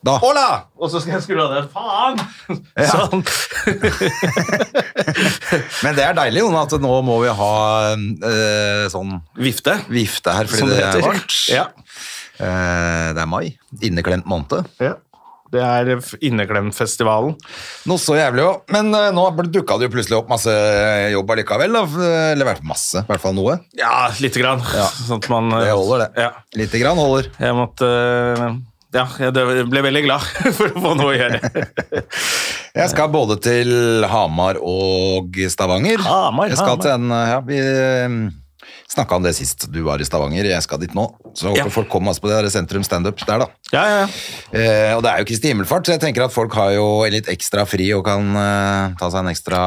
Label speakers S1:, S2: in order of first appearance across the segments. S1: Hola! Og så skal jeg skru av det. Faen! Sånn.
S2: Men det er deilig, Jon, at nå må vi ha eh, sånn
S1: Vifte.
S2: vifte her, fordi
S1: Som det
S2: det, er
S1: heter.
S2: varmt.
S1: Ja.
S2: Eh, det er mai. Inneklemt måned.
S1: Det er Inneklemfestivalen.
S2: Noe så jævlig òg. Men eh, nå dukka det jo plutselig opp masse jobb allikevel. Da. Eh, Eller i hvert fall masse. I hvert fall noe.
S1: Ja, lite grann.
S2: Ja.
S1: Sånn at man
S2: Det holder, det.
S1: Ja.
S2: Lite grann holder.
S1: Jeg måtte eh, Ja, jeg dø- ble veldig glad for å få noe å gjøre.
S2: Jeg skal både til Hamar og Stavanger.
S1: Hamar,
S2: jeg skal
S1: Hamar.
S2: til en, ja, Vi eh, snakka om det sist du var i Stavanger. Jeg skal dit nå. Så håper
S1: Ja.
S2: folk kommer altså på det der sentrum standup der, da.
S1: Ja, ja, ja.
S2: Eh, og det er jo Kristi himmelfart, så jeg tenker at folk har jo litt ekstra fri og kan eh, ta seg en ekstra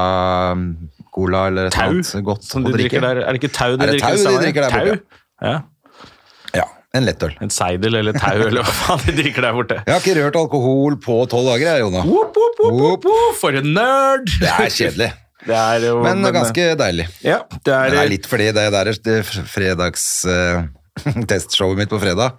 S2: mm, cola eller et
S1: Tau
S2: eller annet godt
S1: som
S2: å
S1: de
S2: drikke.
S1: drikker der. Er det ikke tau de
S2: Er det
S1: drikker?
S2: tau
S1: i
S2: de
S1: Stavanger?
S2: drikker der borte?
S1: Tau? Ja.
S2: Ja, en lettøl.
S1: En seidel eller tau eller hva faen de drikker der borte.
S2: Jeg har ikke rørt alkohol på tolv dager, jeg, Jona.
S1: Whoop, whoop, whoop,
S2: Whoop.
S1: whoop, whoop. For en nerd!
S2: Det er kjedelig,
S1: Det er jo
S2: men ganske deilig.
S1: Ja, det
S2: Men
S1: eh, er,
S2: det er litt fordi det der det fredags eh, testshowet mitt på fredag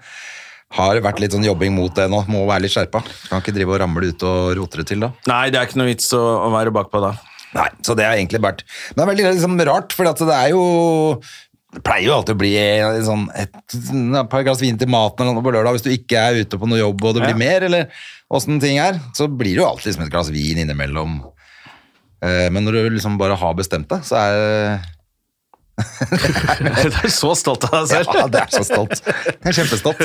S2: har vært litt sånn jobbing mot det nå. Må være litt skjerpa. Kan ikke drive og ramle ut og rote det til, da.
S1: Nei, det er ikke noe vits å, å være bakpå da.
S2: Nei, så det har egentlig vært Men det er veldig liksom, rart, for det er jo det pleier jo alltid å bli en sånn et, et par glass vin til maten eller noe på lørdag hvis du ikke er ute på noe jobb og det blir
S1: Ja.
S2: mer, eller åssen ting er. Så blir det jo alltid liksom et glass vin innimellom. Eh, Men når du liksom bare har bestemt deg, så er
S1: Du er så stolt av deg
S2: Ja,
S1: selv.
S2: det er så stolt. Jeg er kjempestolt.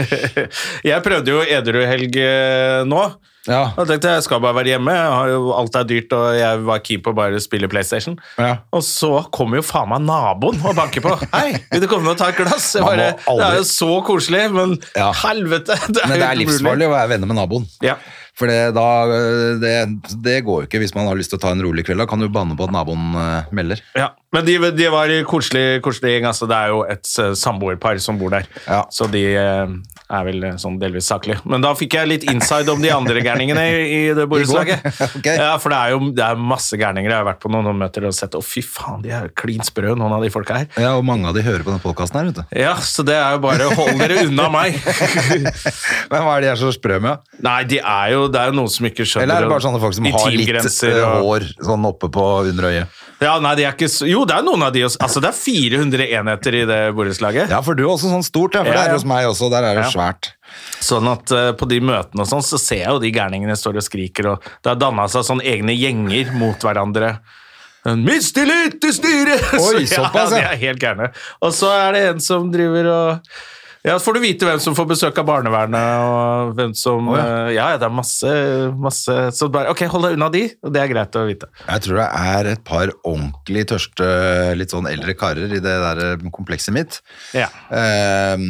S1: Jeg prøvde jo edruhelg eh, nå.
S2: Ja.
S1: Da tenkte jeg jeg skal bare være hjemme. Jeg har jo, alt er dyrt, og jeg var keen på å bare spille PlayStation.
S2: Ja.
S1: Og så kommer jo faen meg naboen og banker på. Hei, vil du komme og ta et glass? Jeg
S2: Man
S1: bare,
S2: må aldri-
S1: Det er jo så koselig, men
S2: Ja.
S1: helvete! Det er,
S2: Men det er
S1: jo helt
S2: livsfarlig
S1: umulig.
S2: å være venner med naboen.
S1: Ja.
S2: For det, da, øh, det, det går jo ikke hvis man har lyst til å ta en rolig kveld. Da kan du banne på at naboen øh, melder.
S1: Ja. Men de, de var i koselig, koselig gjeng. Altså, det er jo et eh, samboerpar som bor der,
S2: Ja.
S1: så de eh, er vel eh, sånn delvis saklige. Men da fikk jeg litt inside om de andre gærningene i, i det borettslaget.
S2: Ok.
S1: Ja, for det er jo det er masse gærninger. Jeg har vært på noen og møter og sett Å, fy faen, de er klin sprø, noen av de folka her.
S2: Ja, og mange av de hører på denne podkasten her, vet du.
S1: Ja, så det er jo bare hold dere unna meg.
S2: Men hva er det de er så sprø med?
S1: Nei, de er jo, det er jo noen som ikke skjønner
S2: Eller er det bare sånne folk som
S1: i
S2: har litt
S1: teamgrenser
S2: øh,
S1: og-
S2: hår sånn oppe på under øyet?
S1: Ja, nei, de er ikke så Jo, det er noen av de også. Altså, det er 400 enheter i det borettslaget.
S2: Ja, for du er også sånn stort, ja. For
S1: Ja,
S2: det
S1: ja.
S2: er hos meg også. Der er det
S1: Ja.
S2: svært.
S1: Sånn at eh, på de møtene og sånn, så ser jeg jo de gærningene står og skriker, og det har danna seg sånn egne gjenger mot hverandre. En Mistillit til styret!
S2: Oi,
S1: Så,
S2: såpass, ja.
S1: ja. De er helt gærne. Og så er det en som driver og ja, så får du vite hvem som får besøk av barnevernet, og hvem som
S2: Å,
S1: eh,
S2: ja.
S1: ja. ja, det er masse, masse Så bare OK, hold deg unna de, og det er greit å vite.
S2: Jeg tror det er et par ordentlig tørste, litt sånn eldre karer i det der øh, komplekset mitt.
S1: Ja.
S2: Ehm,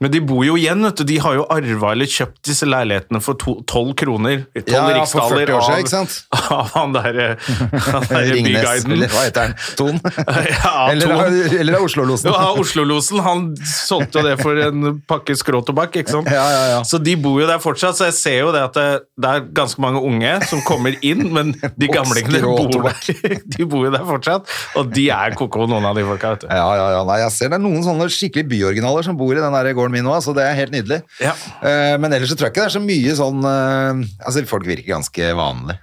S1: Men de bor jo igjen, vet du. De har jo arva eller kjøpt disse leilighetene for to- 12 kroner. 12
S2: Ja, ja, for
S1: riksdaler
S2: 40 år siden,
S1: av-
S2: ikke sant?
S1: Av han derre der
S2: Ringnes,
S1: byguiden.
S2: eller hva heter han? Ton?
S1: Ja,
S2: eller,
S1: Ton.
S2: av- eller av Oslo-losen?
S1: Jo, ja, Oslo-losen han solgte jo det for en pakke skråtobakk, ikke sant?
S2: Ja, ja, ja.
S1: Så de bor jo der fortsatt, så jeg ser jo det at eh, det, det er ganske mange unge som kommer inn, men de
S2: Og
S1: gamlingene bor der.
S2: skråtobakk.
S1: De bor jo der fortsatt, og de er koko, noen av de folka, vet du.
S2: Ja, ja, ja. Nei, jeg ser det er noen sånne skikkelig byoriginaler som bor i den der gården min nå, så det er helt nydelig.
S1: Ja.
S2: Eh, men ellers så tror jeg ikke det er så mye sånn eh, Altså, folk virker ganske vanlig,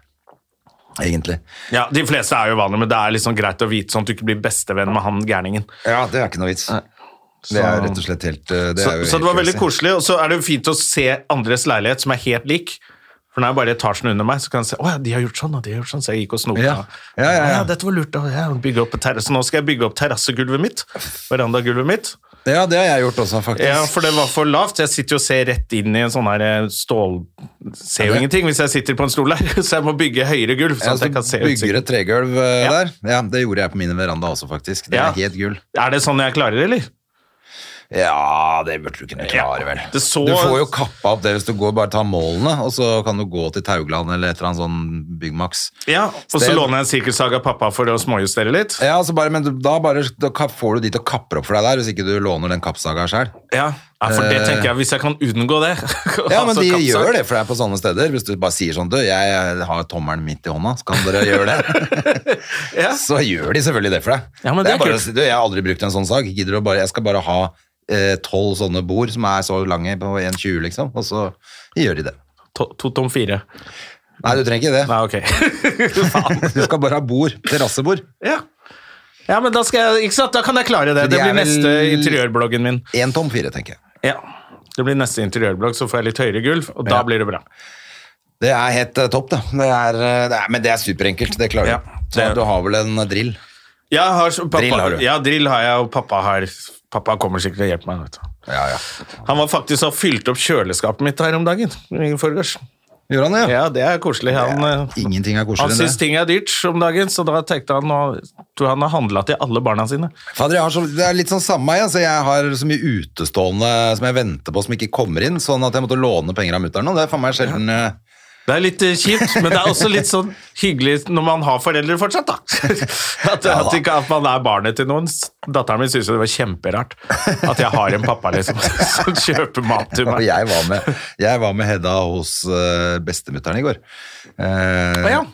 S2: egentlig.
S1: Ja, De fleste er jo vanlige, men det er liksom greit å vite sånn at du ikke blir bestevenn med han gærningen.
S2: Ja, det er ikke noe vits. Det er rett og slett helt eh, det
S1: Så,
S2: er jo
S1: så
S2: helt
S1: det var veldig
S2: crazy.
S1: koselig, og så er det jo fint å se andres leilighet som er helt lik. For den er bare etasjen under meg, så kan jeg se å ja, de har gjort sånn og de har gjort sånn. Så jeg gikk og snoka.
S2: Ja. Ja, ja, ja.
S1: dette var lurt. å, Ja, bygge opp en terrasse. Nå skal jeg bygge opp terrassegulvet mitt. Verandagulvet mitt.
S2: Ja, det har jeg gjort også, faktisk.
S1: Ja, for det var for lavt. Jeg sitter jo og ser rett inn i en sånn her eh, stål...
S2: Ja,
S1: Ser jo
S2: det-
S1: ingenting hvis jeg sitter på en stol der, så jeg må bygge høyere gulv.
S2: Ja,
S1: Sånn at jeg kan
S2: så
S1: se
S2: bygger
S1: utsikten.
S2: et tregulv eh,
S1: Ja.
S2: der. Ja, Det gjorde jeg på min veranda også, faktisk. Det
S1: Ja.
S2: er helt gull.
S1: Er det sånn jeg klarer, eller?
S2: Ja, det burde du kunne klare, vel.
S1: Det så-
S2: Du får jo kappa opp det hvis du går bare tar målene, og så kan du gå til Taugland eller et eller annet sånn Byggmax.
S1: Ja, og så
S2: Sted.
S1: låner jeg en sirkelsaga av pappa for å småjustere litt.
S2: Ja, altså bare, men da, bare, da ka- får du de til å kappe opp for deg der, hvis ikke du låner den kappsaga sjøl.
S1: Ja, ja for det tenker jeg, hvis jeg kan unngå det
S2: Ja, men
S1: altså,
S2: de
S1: kappsak.
S2: gjør det for deg på sånne steder. Hvis du bare sier sånn, du, jeg har tommelen midt i hånda, så kan dere gjøre det.
S1: Ja.
S2: Så gjør de selvfølgelig det for deg.
S1: Ja, men det er
S2: bare å
S1: kult.
S2: si, du, jeg har aldri brukt en sånn sag. Gidder du å bare, jeg skal bare ha eh, tolv sånne bord som er så lange på 1,20 liksom, og så gjør de det.
S1: To, to tom fire.
S2: Nei, du trenger ikke det.
S1: Nei, ok. Faen.
S2: Du skal bare ha bord, terrassebord.
S1: Ja. ja, men da skal jeg Ikke sant, da kan jeg klare det.
S2: Så de
S1: Det
S2: er
S1: blir
S2: vel-
S1: neste interiørbloggen min.
S2: Én tom fire, tenker jeg.
S1: Ja. Det blir neste interiørblogg, så får jeg litt høyere gulv, og da
S2: Ja.
S1: blir det bra.
S2: Det er helt eh, topp, da. Det er, eh, det er, men det er superenkelt, det klarer
S1: Ja,
S2: du.
S1: det
S2: Så
S1: er-
S2: du har vel en drill?
S1: Jeg har, så- pappa,
S2: Drill har du.
S1: Ja, drill har jeg, og pappa har Pappa kommer sikkert til å hjelpe meg. Vet du.
S2: Ja, ja.
S1: Han var faktisk og fylte opp kjøleskapet mitt her om dagen. i forgårs.
S2: Gjorde han det, ja?
S1: Ja, det er koselig. Han, eh,
S2: Ingenting er
S1: han
S2: koseligere enn
S1: syns
S2: det.
S1: ting er dyrt om dagen, så da tenkte han nå- tror han har handla til alle barna sine.
S2: Fader, jeg har så, det er litt sånn samme meg. Altså, jeg har så mye utestående som jeg venter på, som ikke kommer inn. Sånn at jeg måtte låne penger av mutter'n. og Det er faen meg sjelden eh,
S1: Det er litt eh, kjipt, men det er også litt sånn hyggelig når man har foreldre fortsatt, da. At,
S2: Ja, da.
S1: at, ikke, at man er barnet til noen. Datteren min syntes jo det var kjemperart at jeg har en pappa liksom, som kjøper mat til
S2: Og
S1: meg.
S2: jeg var med, jeg var med Hedda hos uh, bestemutter'n i går. Eh,
S1: Å ja.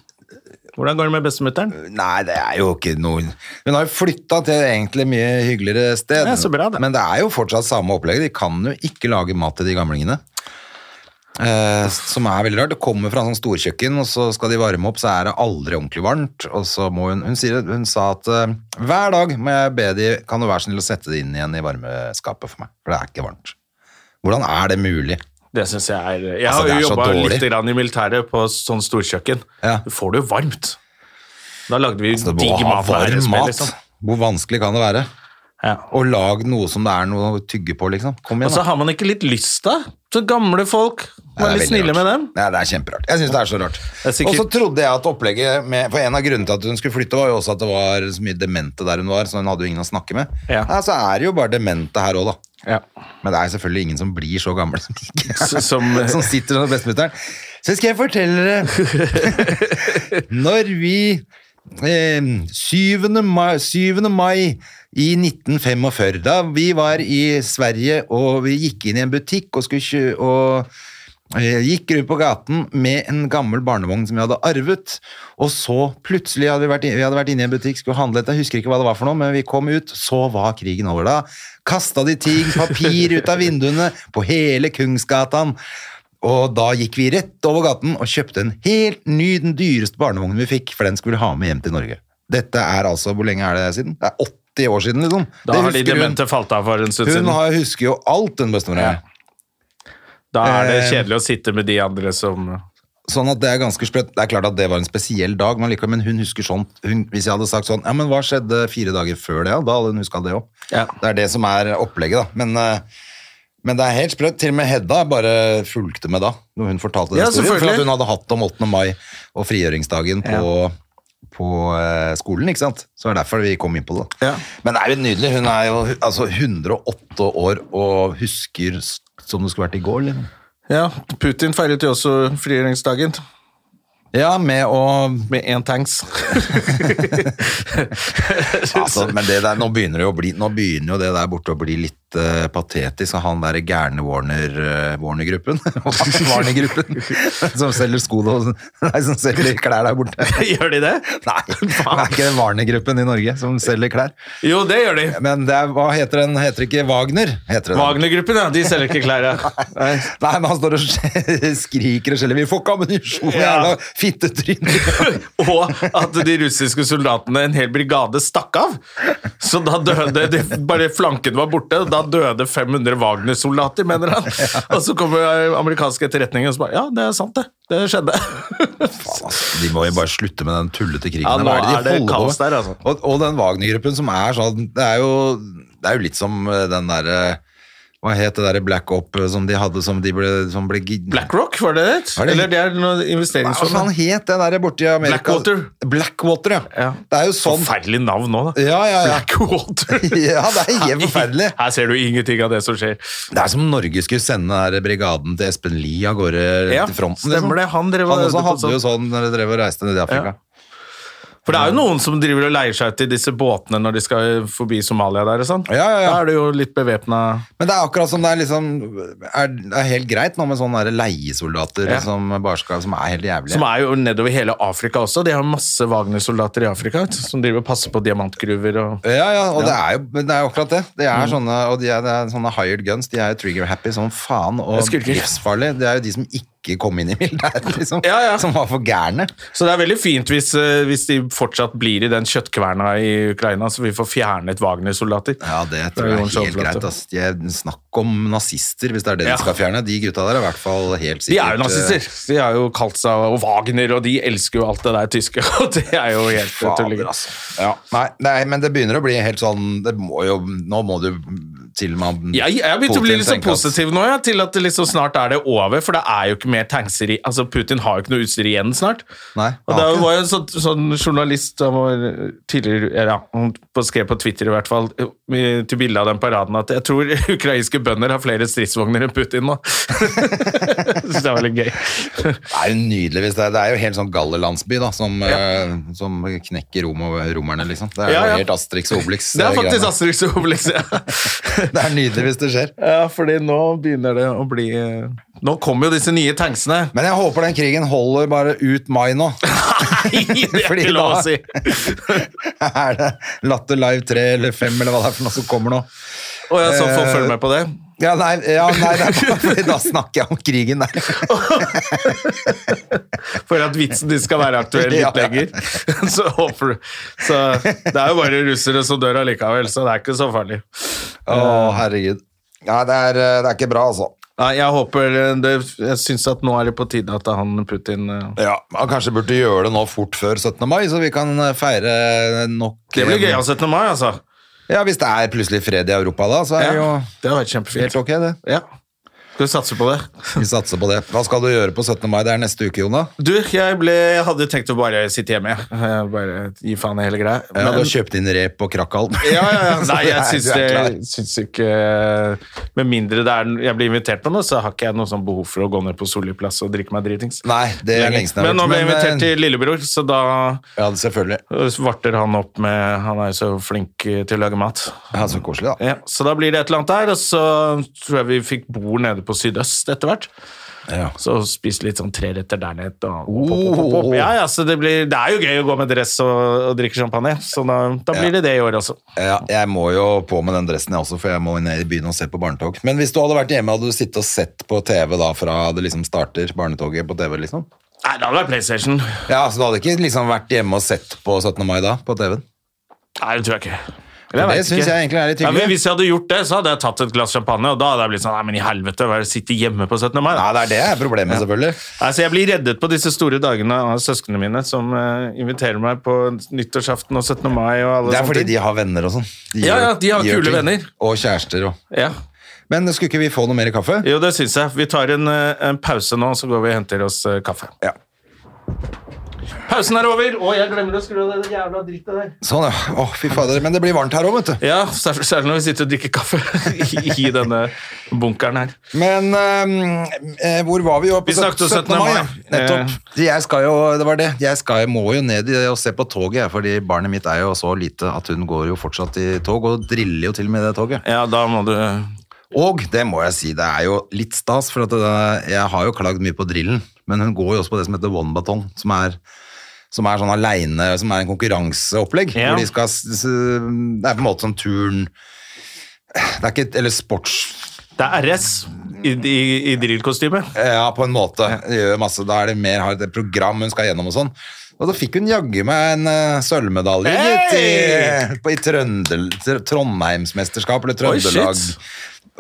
S1: Hvordan går det med bestemutteren?
S2: Nei, det er jo ikke noe Hun har jo flytta til et egentlig mye hyggeligere sted.
S1: Ja, så bra det.
S2: Men det er jo fortsatt samme opplegget. De kan jo ikke lage mat til de gamlingene. Eh, som er veldig rart. Det kommer fra en sånn storkjøkken, og så skal de varme opp, så er det aldri ordentlig varmt. Og så må hun Hun, sier, hun sa at eh, hver dag må jeg be de Kan du være snill å sette det inn igjen i varmeskapet for meg, for det er ikke varmt. Hvordan er det mulig?
S1: Det syns jeg er Jeg
S2: Altså,
S1: har
S2: det er
S1: jo
S2: så
S1: jobba
S2: dårlig.
S1: litt grann i militæret på sånn storkjøkken.
S2: Ja.
S1: Du får det jo varmt. Da lagde vi
S2: Så du må
S1: digg
S2: ha
S1: mat. med
S2: varm
S1: RSB,
S2: mat.
S1: liksom.
S2: Hvor vanskelig kan det være?
S1: Ja.
S2: Og lag noe som det er noe å tygge på, liksom. Kom igjen,
S1: Og så har man ikke litt lyst, da. Så gamle folk.
S2: Ja, det
S1: Vær
S2: er
S1: litt
S2: veldig
S1: snille
S2: rart.
S1: med dem.
S2: Ja, det er kjemperart. Jeg synes det er så rart.
S1: er sikkert-
S2: Og så trodde jeg at opplegget med, For en av grunnene til at hun skulle flytte, var jo også at det var så mye demente der hun var, så hun hadde jo ingen å snakke med.
S1: Ja.
S2: så er det jo bare demente her òg, da.
S1: Ja.
S2: Men det er selvfølgelig ingen som blir så gamle som ikke
S1: S- som-
S2: som sitter hos bestemutteren. Så skal jeg fortelle dere Når vi eh, 7. Mai, 7. mai i 1945, da vi var i Sverige og vi gikk inn i en butikk og skulle kjø og eh, gikk rundt på gaten med en gammel barnevogn som vi hadde arvet, og så plutselig hadde vi vært, inn- vi hadde vært inne i en butikk, skulle handle etter, jeg husker ikke hva det var for noe, men vi kom ut, så var krigen over da. Kasta de ting, papir ut av vinduene på hele Kungsgatan. Og da gikk vi rett over gaten og kjøpte en helt ny, den dyreste barnevognen vi fikk, for den skulle vi ha med hjem til Norge. Dette er altså, hvor lenge er det siden? Det er 80 år siden, liksom.
S1: Da
S2: Det
S1: har de
S2: husker hun.
S1: demente falt av for en stund
S2: Hun
S1: siden.
S2: har, husker jo alt, den bestemora.
S1: Ja. Da er det
S2: Eh,
S1: kjedelig å sitte med de andre som
S2: Sånn at det er ganske sprøtt. Det er klart at det var en spesiell dag, men, likevel, men hun husker sånn. Hun, hvis jeg hadde sagt sånn, ja, men hva skjedde fire dager før det, ja? da hadde hun huska det òg.
S1: Ja.
S2: Det er det som er opplegget, da. Men, eh, men det er helt sprøtt. Til og med Hedda bare fulgte med da, når hun fortalte den
S1: Ja,
S2: historien. For
S1: selvfølgelig.
S2: at hun hadde hatt om 8. mai og frigjøringsdagen på, på eh, skolen, ikke sant. Så det er derfor vi kom inn på det. da.
S1: Ja.
S2: Men det er jo nydelig. Hun er jo altså, 108 år og husker s- som det skulle vært i går, liksom.
S1: Ja, Putin feiret jo også frigjøringsdagen
S2: Ja, med å
S1: med én tanks.
S2: Altså, men det der, nå begynner det jo å bli Nå begynner jo det der borte å bli litt eh, patetisk av han der gærne Warner eh, Warner-gruppen Warner-gruppen som selger sko og sånn. Nei, som selger klær der borte
S1: gjør de det?
S2: Nei, det er ikke den Warner-gruppen i Norge som selger klær
S1: Jo, det gjør de.
S2: Men det er, hva heter den? Heter det ikke Wagner? Heter det den?
S1: Wagner-gruppen, ja. De selger ikke klær, ja. Nei.
S2: Nei, men han står og skriker og skjeller Vi får ikke ammunisjon, jævla
S1: Ja.
S2: fittetryn
S1: Og at de russiske soldatene, en hel brigade, stakk av. Så da døde de, Bare flanken var borte, og da døde 500 Wagner-soldater, mener han. Og så kommer amerikansk etterretning og så bare Ja, det er sant, det. Det skjedde.
S2: Altså, De må jo bare slutte med den tullete krigen.
S1: Ja,
S2: der.
S1: nå
S2: Hva de
S1: er det
S2: holder på
S1: kaos
S2: med?
S1: der, altså.
S2: Og, og den Wagner-gruppen som er sånn Det er jo, det er jo litt som eh, den derre Hva het det derre Black Op eh, som de hadde som de ble, som ble gi-
S1: BlackRock, var det det?
S2: Var det-
S1: Eller det er noe
S2: Hva faen
S1: investeringsfond?
S2: het det der borte i Amerika?
S1: Blackwater.
S2: Blackwater, ja.
S1: Ja.
S2: Det er jo sånn
S1: Forferdelig navn nå, da.
S2: Ja, ja, ja.
S1: Blackwater.
S2: Ja, det er helt forferdelig.
S1: Her ser du ingenting av det som skjer.
S2: Det er som om Norge skulle sende den der brigaden til Espen Lie av gårde
S1: Ja,
S2: til fronten. liksom.
S1: stemmer det. Han drev og
S2: han også
S1: øvde på
S2: hadde jo sånn når de drev og reiste ned i Afrika.
S1: For det er jo noen som driver og leier seg ut i disse båtene når de skal forbi Somalia der og sånn.
S2: Ja, ja, ja.
S1: Da er det jo litt bevæpna
S2: Men det er akkurat som det er liksom er, Det er helt greit nå med sånne der leiesoldater
S1: Ja.
S2: som bare skal Som er helt jævlige.
S1: Som er jo nedover hele Afrika også. De har masse Wagner-soldater i Afrika vet du, som driver og passer på diamantgruver og
S2: ja, ja, og Det, er jo, men det er jo akkurat det. Det
S1: Mm.
S2: er sånne, og de er, det er sånne hired guns. De er jo trigger-happy som faen og
S1: Jeg skulker.
S2: livsfarlige. Det er jo de som ikke kom inn i militæret, liksom.
S1: Ja, ja.
S2: Som var for gærne.
S1: Så det er veldig fint hvis, eh, hvis de fortsatt blir i den kjøttkverna i Ukraina, så vi får fjernet Wagner-soldater.
S2: Ja, det tror jeg
S1: jo
S2: er
S1: en
S2: helt
S1: overflate.
S2: greit. Ass. De er, snakk om nazister, hvis det er det
S1: Ja.
S2: de skal fjerne. De gutta der er i hvert fall helt sikkert eh,
S1: De er jo nazister. De har jo kalt seg og Wagner, og de elsker jo alt det der tyske. Og det er jo helt eh,
S2: Fader,
S1: tulling.
S2: altså. Ja. Nei, nei, men det begynner å bli helt sånn det må jo, Nå må du til og med
S1: Jeg, jeg har begynt
S2: Putin
S1: å bli litt sånn
S2: tenke at-
S1: positiv nå, ja, til at det liksom snart er det over, for det er jo ikke mer tankseri. Altså, Putin har jo ikke noe utstyr igjen snart.
S2: Nei,
S1: og
S2: han
S1: det
S2: har ikke
S1: var jo en sånn, sånn journalist som var tidligere, ja, han skrev på Twitter i hvert fall, eh, til bildet av den paraden, at jeg tror ukrainske bønder har flere stridsvogner enn Putin nå. Så det var litt gøy.
S2: Det er jo nydelig hvis det er, det er jo helt sånn gallerlandsby da, som, eh, som knekker rom og romerne, liksom. Det er
S1: Ja, ja.
S2: jo helt Asterix og Obelix.
S1: Det er faktisk
S2: greiene.
S1: Asterix og Obelix. ja.
S2: Det er nydelig hvis det skjer.
S1: Ja, fordi nå begynner det å bli eh, Nå kommer jo disse nye tanksene.
S2: Men jeg håper den krigen holder bare ut mai nå.
S1: Nei, det er
S2: Fordi
S1: ikke lov
S2: da-
S1: å si!
S2: er det Latter Live 3 eller 5 eller hva det er for noe som kommer nå?
S1: Og jeg så får
S2: Eh,
S1: følge med på det.
S2: Ja, nei, ja, nei det er bare fordi da snakker jeg om krigen der.
S1: For at vitsen din skal være aktuell
S2: Ja.
S1: litt lenger. Så håper du Så det er jo bare russere som dør allikevel, så det er ikke så farlig.
S2: Å, herregud. Nei, det er, eh, det er ikke bra, altså.
S1: Nei, jeg håper eh, det, Jeg syns at nå er det på tide at han Putin eh,
S2: Ja, man kanskje burde gjøre det nå fort før 17. mai, så vi kan eh, feire nok
S1: Det blir gøy av 17. mai, altså.
S2: Ja, hvis det er plutselig fred i Europa da, så er det
S1: Ja,
S2: jo
S1: det har vært
S2: helt
S1: kjempefint.
S2: ok, det.
S1: Ja. Skal vi satse på det?
S2: Vi satser på det. Hva skal du gjøre på 17. mai? Det er neste uke, Jona.
S1: Du, jeg, ble, jeg hadde tenkt å bare sitte hjemme, jeg. Eh, Bare gi faen i hele greia.
S2: Ja, du
S1: Men-
S2: har kjøpt inn rep og krakkalm.
S1: Ja, ja, ja.
S2: Så
S1: Nei, jeg syns,
S2: du er klar.
S1: det, syns ikke Med mindre det er, jeg blir invitert på noe, så har ikke jeg noe sånn behov for å gå ned på Solli plass og drikke meg dritings.
S2: Nei, det er lenge siden jeg har
S1: Men nå
S2: gjort,
S1: ble jeg invitert
S2: eh,
S1: til lillebror, så da eh,
S2: Ja, selvfølgelig.
S1: varter han opp med Han er jo så flink eh, til å lage mat.
S2: Ja, så koselig, da.
S1: Ja, så da blir det et eller annet der, og så tror jeg vi fikk bord nede på sydøst etter hvert.
S2: Ja.
S1: Så spiste litt sånn treretter der nede. Og,
S2: Oh.
S1: Ja, ja, så det, blir, det er jo gøy å gå med dress og, og drikke champagne, så da, da blir det det i år også.
S2: Ja, jeg må jo på med den dressen jeg også, for jeg må ned i byen og se på barnetog. Men hvis du hadde vært hjemme, hadde du sittet og sett på TV da, fra det liksom starter barnetoget på TV, liksom?
S1: Nei, da hadde det vært PlayStation.
S2: Ja, så du hadde ikke liksom vært hjemme og sett på 17. mai da, på TV-en?
S1: Nei, det tror jeg ikke.
S2: Det
S1: vet
S2: synes jeg egentlig er litt
S1: Ja, men
S2: hyggelig.
S1: hvis jeg hadde gjort det, så hadde jeg tatt et glass champagne, og da hadde jeg blitt sånn Nei, men i helvete, hva er det å sitte hjemme på 17. mai?
S2: Nei, det er det er problemet, selvfølgelig.
S1: Altså, jeg blir reddet på disse store dagene av søsknene mine, som eh, inviterer meg på nyttårsaften og 17. mai og alle
S2: Det er
S1: sånne
S2: fordi
S1: ting.
S2: de har venner og sånn. De
S1: Ja, ja, de har
S2: gjør
S1: kule
S2: ting.
S1: venner.
S2: Og kjærester og
S1: Ja.
S2: Men skulle ikke vi få noe mer kaffe?
S1: Jo, det syns jeg. Vi tar en, eh, en pause nå, så går vi og henter oss eh, kaffe.
S2: Ja.
S1: Pausen er over! Å, jeg glemmer å skru av det jævla drittet der.
S2: Sånn, ja. Å, fy fader. Men det blir varmt her òg, vet du.
S1: Ja, særlig særlig når vi sitter og drikker kaffe i, i denne bunkeren her.
S2: Men ehm, eh, hvor var vi jo? På
S1: Vi snakket om 17. mai,
S2: ja. Eh. Nettopp. Jeg skal jo, det var det. Jeg, skal, jeg må jo ned i det og se på toget, jeg, fordi barnet mitt er jo så lite at hun går jo fortsatt i tog, og driller jo til og med i det toget.
S1: Ja, da må du
S2: Og det må jeg si, det er jo litt stas, for at det, jeg har jo klagd mye på drillen, men hun går jo også på det som heter one baton, som er, som er sånn aleine, som er en konkurranseopplegg.
S1: Ja.
S2: Hvor de skal, s- s- det er på en måte sånn turn det er ikke, et- Eller sports
S1: Det er RS i, i, i drillkostyme.
S2: Ja, på en måte. Gjør masse, da er det mer har et program hun skal gjennom og sånn. Og da fikk hun jaggu meg en eh, sølvmedalje
S1: Hey!
S2: gitt, i, på, i Trøndel, Tr- Trondheimsmesterskap, eller
S1: Oi, shit.
S2: Trøndelag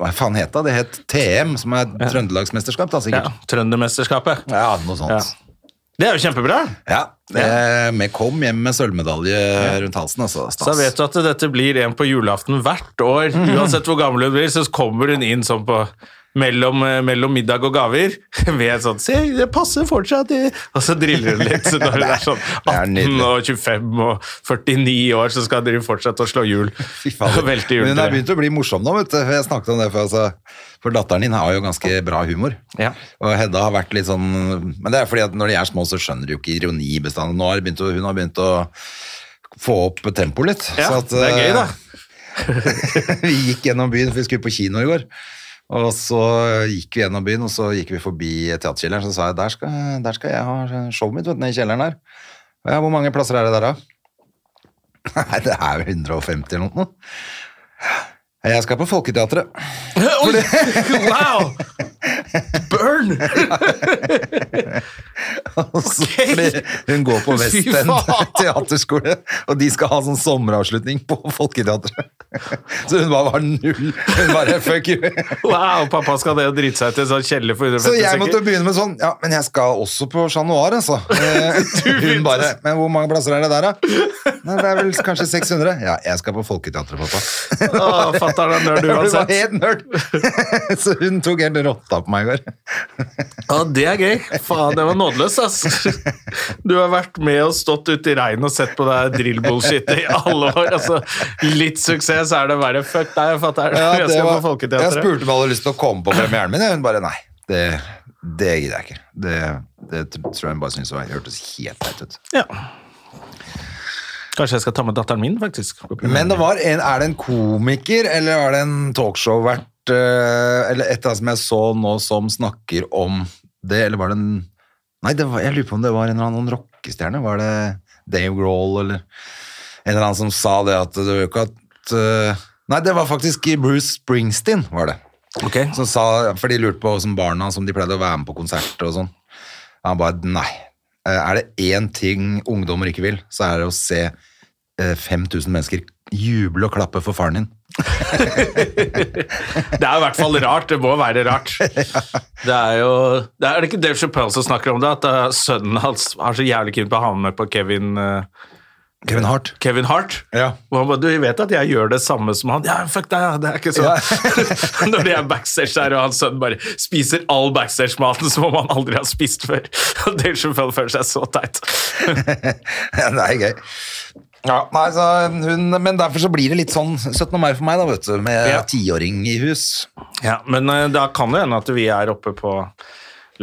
S2: Hva faen het det? Det het TM, som er Trøndelagsmesterskap, da
S1: Ja,
S2: sikkert.
S1: Trøndermesterskapet.
S2: Ja, noe sånt.
S1: Ja. Det er jo kjempebra.
S2: Ja. Eh, men kom hjem med sølvmedalje rundt halsen, altså. Stas.
S1: Så vet du at dette blir en på julaften hvert år.
S2: Mhm.
S1: Uansett hvor gammel hun blir, så kommer hun inn sånn på mellom, eh, mellom middag og gaver ved sånn Se, det passer fortsatt. det». Og så driller hun litt. Så når hun er sånn
S2: det er
S1: 18
S2: nydelig.
S1: og 25 og 49 år, så skal dere fortsette å slå hjul.
S2: Fy fader.
S1: Og velte
S2: Men hun har
S1: juletreet.
S2: begynt å bli morsom nå, vet du. For jeg snakket om det før. Altså. For datteren din har jo ganske bra humor.
S1: Ja.
S2: Og Hedda har vært litt sånn Men det er fordi at når de er små, så skjønner de jo ikke ironi bestandig. Nå har de begynt å, hun har begynt å få opp tempoet litt.
S1: Ja,
S2: Så at,
S1: det er gøy, da.
S2: vi gikk gjennom byen, for vi skulle på kino i går. Og så gikk vi gjennom byen, og så gikk vi forbi teaterkjelleren. Så sa jeg der skal, der skal jeg ha showet mitt, vet du, nede i kjelleren her. Ja, hvor mange plasser er det der, da? Nei, det er vel 150 eller noe. Jeg skal på Folketeatret.
S1: Oi! Wow!
S2: eh,
S1: Burn!
S2: Fordi Hun går på
S1: Fy
S2: Vestend
S1: faen!
S2: teaterskole, og de skal ha sånn sommeravslutning på Folketeatret. Så hun bare var null. Hun bare fuck you.
S1: Wow, pappa skal det å drite seg til en sånn kjeller for 150
S2: Så jeg måtte
S1: stykker.
S2: begynne med sånn Ja, men jeg skal også på Chat Noir, altså. Eh, Hun bare
S1: sånn.
S2: Men hvor mange plasser er det der, da? Nei, det er vel kanskje 600? Ja, jeg skal på Folketeatret, pappa.
S1: Å, Fatter'n er nerd
S2: Det var
S1: uansett.
S2: helt nerd. Så hun tok helt rotta på meg i går.
S1: Ja, det er gøy. Faen, det var nådeløst, ass. Du har vært med og stått ute i regnet og sett på det her drill-bullshitet i alle år. Altså, litt suksess er det verre. Fuck deg, fatter'n.
S2: Ja,
S1: jeg
S2: det
S1: skal
S2: var,
S1: på
S2: jeg
S1: Folketeatret.
S2: spurte om jeg hadde lyst til å komme på premieren min, og hun bare nei. Det, det gidder jeg ikke. Det, det t- tror jeg hun bare syntes var- hørtes helt teit ut.
S1: Ja. Kanskje jeg skal ta med datteren min, faktisk.
S2: Men det var en, er det en komiker, eller er det en talkshow-vert, eh, eller et eller annet som jeg så nå som snakker om det, eller var det en Nei, det var, jeg lurer på om det var en eller annen rockestjerne. Var det Dave Grohl, eller en eller annen som sa det at det var jo ikke at eh, Nei, det var faktisk Bruce Springsteen, var det.
S1: Ok.
S2: som sa, for de lurte på som barna som de pleide å være med på konserter og sånn. Han bare, nei, Eh, er det én ting ungdommer ikke vil, så er det å se eh, 5000 mennesker juble og klappe for faren din.
S1: Det er i hvert fall rart. Det må være rart. Det er jo det Er er det ikke Dave Chappelle som snakker om det? At eh, sønnen hans har så jævlig keen på å ha med på Kevin eh,
S2: Kevin Hart.
S1: Kevin Hart.
S2: Ja.
S1: Og han bare, du vet at jeg gjør det samme som han. Ja, fuck deg, ja, det er ikke sånn. Når de er backstage der, og hans sønn bare spiser all backstage-maten som om han aldri har spist før. Og Dave Chappelle føler seg så teit.
S2: det er gøy. Ja, nei, så hun, men derfor så blir det litt sånn 17. mai for meg, da, vet du,
S1: Ja.
S2: med tiåring i hus.
S1: Ja, men eh, da kan det hende at vi er oppe på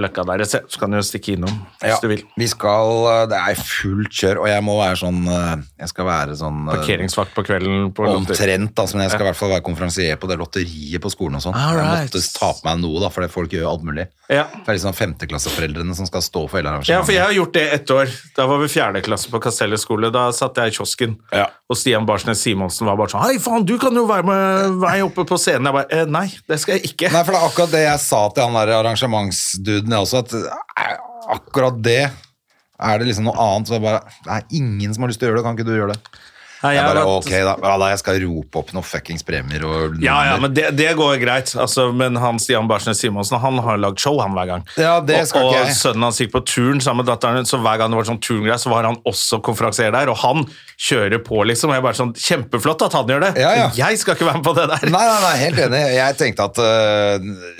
S1: løkka der et sted, så kan du jo stikke innom hvis
S2: Ja,
S1: du vil.
S2: vi skal, eh, det er fullt kjør, og jeg må være sånn, eh, jeg skal være sånn eh,
S1: Parkeringsvakt på kvelden på Lotter.
S2: Omtrent, altså, men jeg skal i hvert fall være konferansier på det lotteriet på skolen og sånn.
S1: All
S2: Jeg
S1: Ah, right.
S2: måtte ta på meg noe, da, for det folk gjør jo alt mulig.
S1: Ja.
S2: Det er liksom femteklasseforeldrene som skal stå for hele
S1: Ja, for jeg
S2: arrangementet.
S1: har gjort det ett år. Da var vi fjerde klasse på Kastellet skole. Da satt jeg i kiosken,
S2: Ja.
S1: og Stian Barsnes Simonsen var bare sånn Hei, faen, du kan jo være med meg oppe på scenen. Jeg bare eh, Nei, det skal jeg ikke.
S2: Nei, for det er akkurat det jeg sa til han der arrangementsduden jeg også, at eh, akkurat det er det liksom noe annet. Så jeg bare, det er ingen som har lyst til å gjøre det, kan ikke du gjøre det?
S1: Nei,
S2: Jeg
S1: har
S2: bare,
S1: vært-
S2: ok da, ja, da jeg skal rope opp noen fuckings premier og
S1: Ja, ja,
S2: nummer.
S1: men det, det går greit. Altså, men han Stian Barsnes Simonsen han har lagd show han hver gang.
S2: Ja, det skal
S1: og,
S2: ikke
S1: og
S2: jeg.
S1: sønnen hans gikk på turn sammen med datteren, så hver gang det var sånn turngreier, så var han også konferansier der, og han kjører på, liksom. Og jeg bare sånn Kjempeflott at han gjør det,
S2: Ja, ja.
S1: men jeg skal ikke være med på det der.
S2: Nei, nei, nei, helt enig. Jeg tenkte at eh,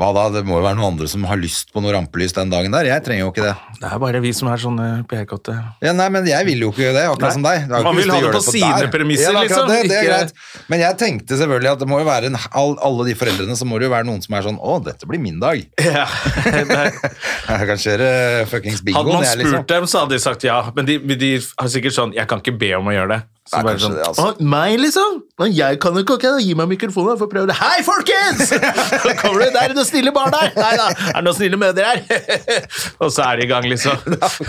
S2: hva da, det må jo være noen andre som har lyst på noe rampelys den dagen der. Jeg trenger jo ikke det.
S1: Det er bare vi som er sånne PR-kotte.
S2: Ja, nei, men jeg vil jo ikke det, akkurat
S1: Nei.
S2: som deg. Du har jo ikke
S1: Man
S2: lyst
S1: vil
S2: til
S1: ha
S2: å
S1: det
S2: gjøre
S1: på sine
S2: der.
S1: premisser,
S2: Ja, det er akkurat
S1: liksom,
S2: Det, det er
S1: ikke-
S2: greit. Men jeg tenkte selvfølgelig at det må jo være en, all, alle de foreldrene, så må det jo være noen som er sånn Å, dette blir min dag.
S1: Ja, det er-
S2: Jeg kan kjøre fuckings bingoen,
S1: Hadde man
S2: jeg,
S1: spurt
S2: liksom.
S1: dem, så hadde de sagt ja. Men de, men de har sikkert sånn Jeg kan ikke be om å gjøre det. Så
S2: Nei,
S1: bare
S2: kanskje
S1: sånn,
S2: det, altså.
S1: «Å, Meg, liksom? Å, Jeg kan jo ikke ok, da Gi meg mikrofonen, jeg får prøve det. Hei, folkens! Så kommer du, der er det noen snille barn der! Nei da, er det noen snille mødre her? Og så er de i gang, liksom.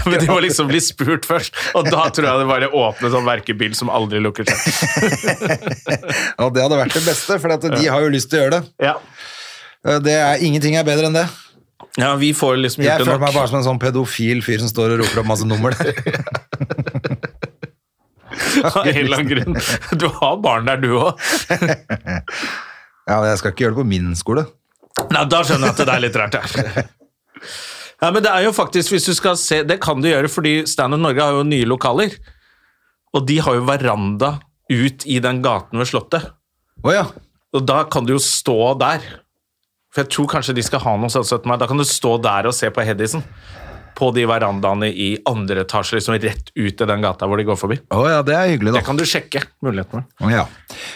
S1: Men de må liksom bli spurt først. Og da tror jeg det bare åpner sånn verkebil som aldri lukker seg.
S2: Og det hadde vært det beste, for at de har jo lyst til å gjøre det. Eh,
S1: Ja,
S2: det er, ingenting er bedre enn det.
S1: ja vi får liksom
S2: Jeg
S1: gjort det
S2: føler meg
S1: nok.
S2: bare som en sånn pedofil fyr som står og roper opp masse nummer der.
S1: Av en eller annen grunn. Du har barn der, du òg.
S2: Ja, men jeg skal ikke gjøre det på min skole.
S1: Nei, da skjønner jeg at det er litt rart, ja. Ja, men det er jo faktisk, hvis du skal se, det kan du gjøre, fordi Stand Up Norge har jo nye lokaler. Og de har jo veranda ut i den gaten ved Slottet.
S2: Å ja.
S1: Og da kan du jo stå der. For jeg tror kanskje de skal ha noe sånn 17. mai. Da kan du stå der og se på Hedisen. På de verandaene i andre etasje, liksom rett ut i den gata hvor de går forbi.
S2: Å ja, det er hyggelig,
S1: Det
S2: da.
S1: kan du sjekke mulighetene.
S2: Ja.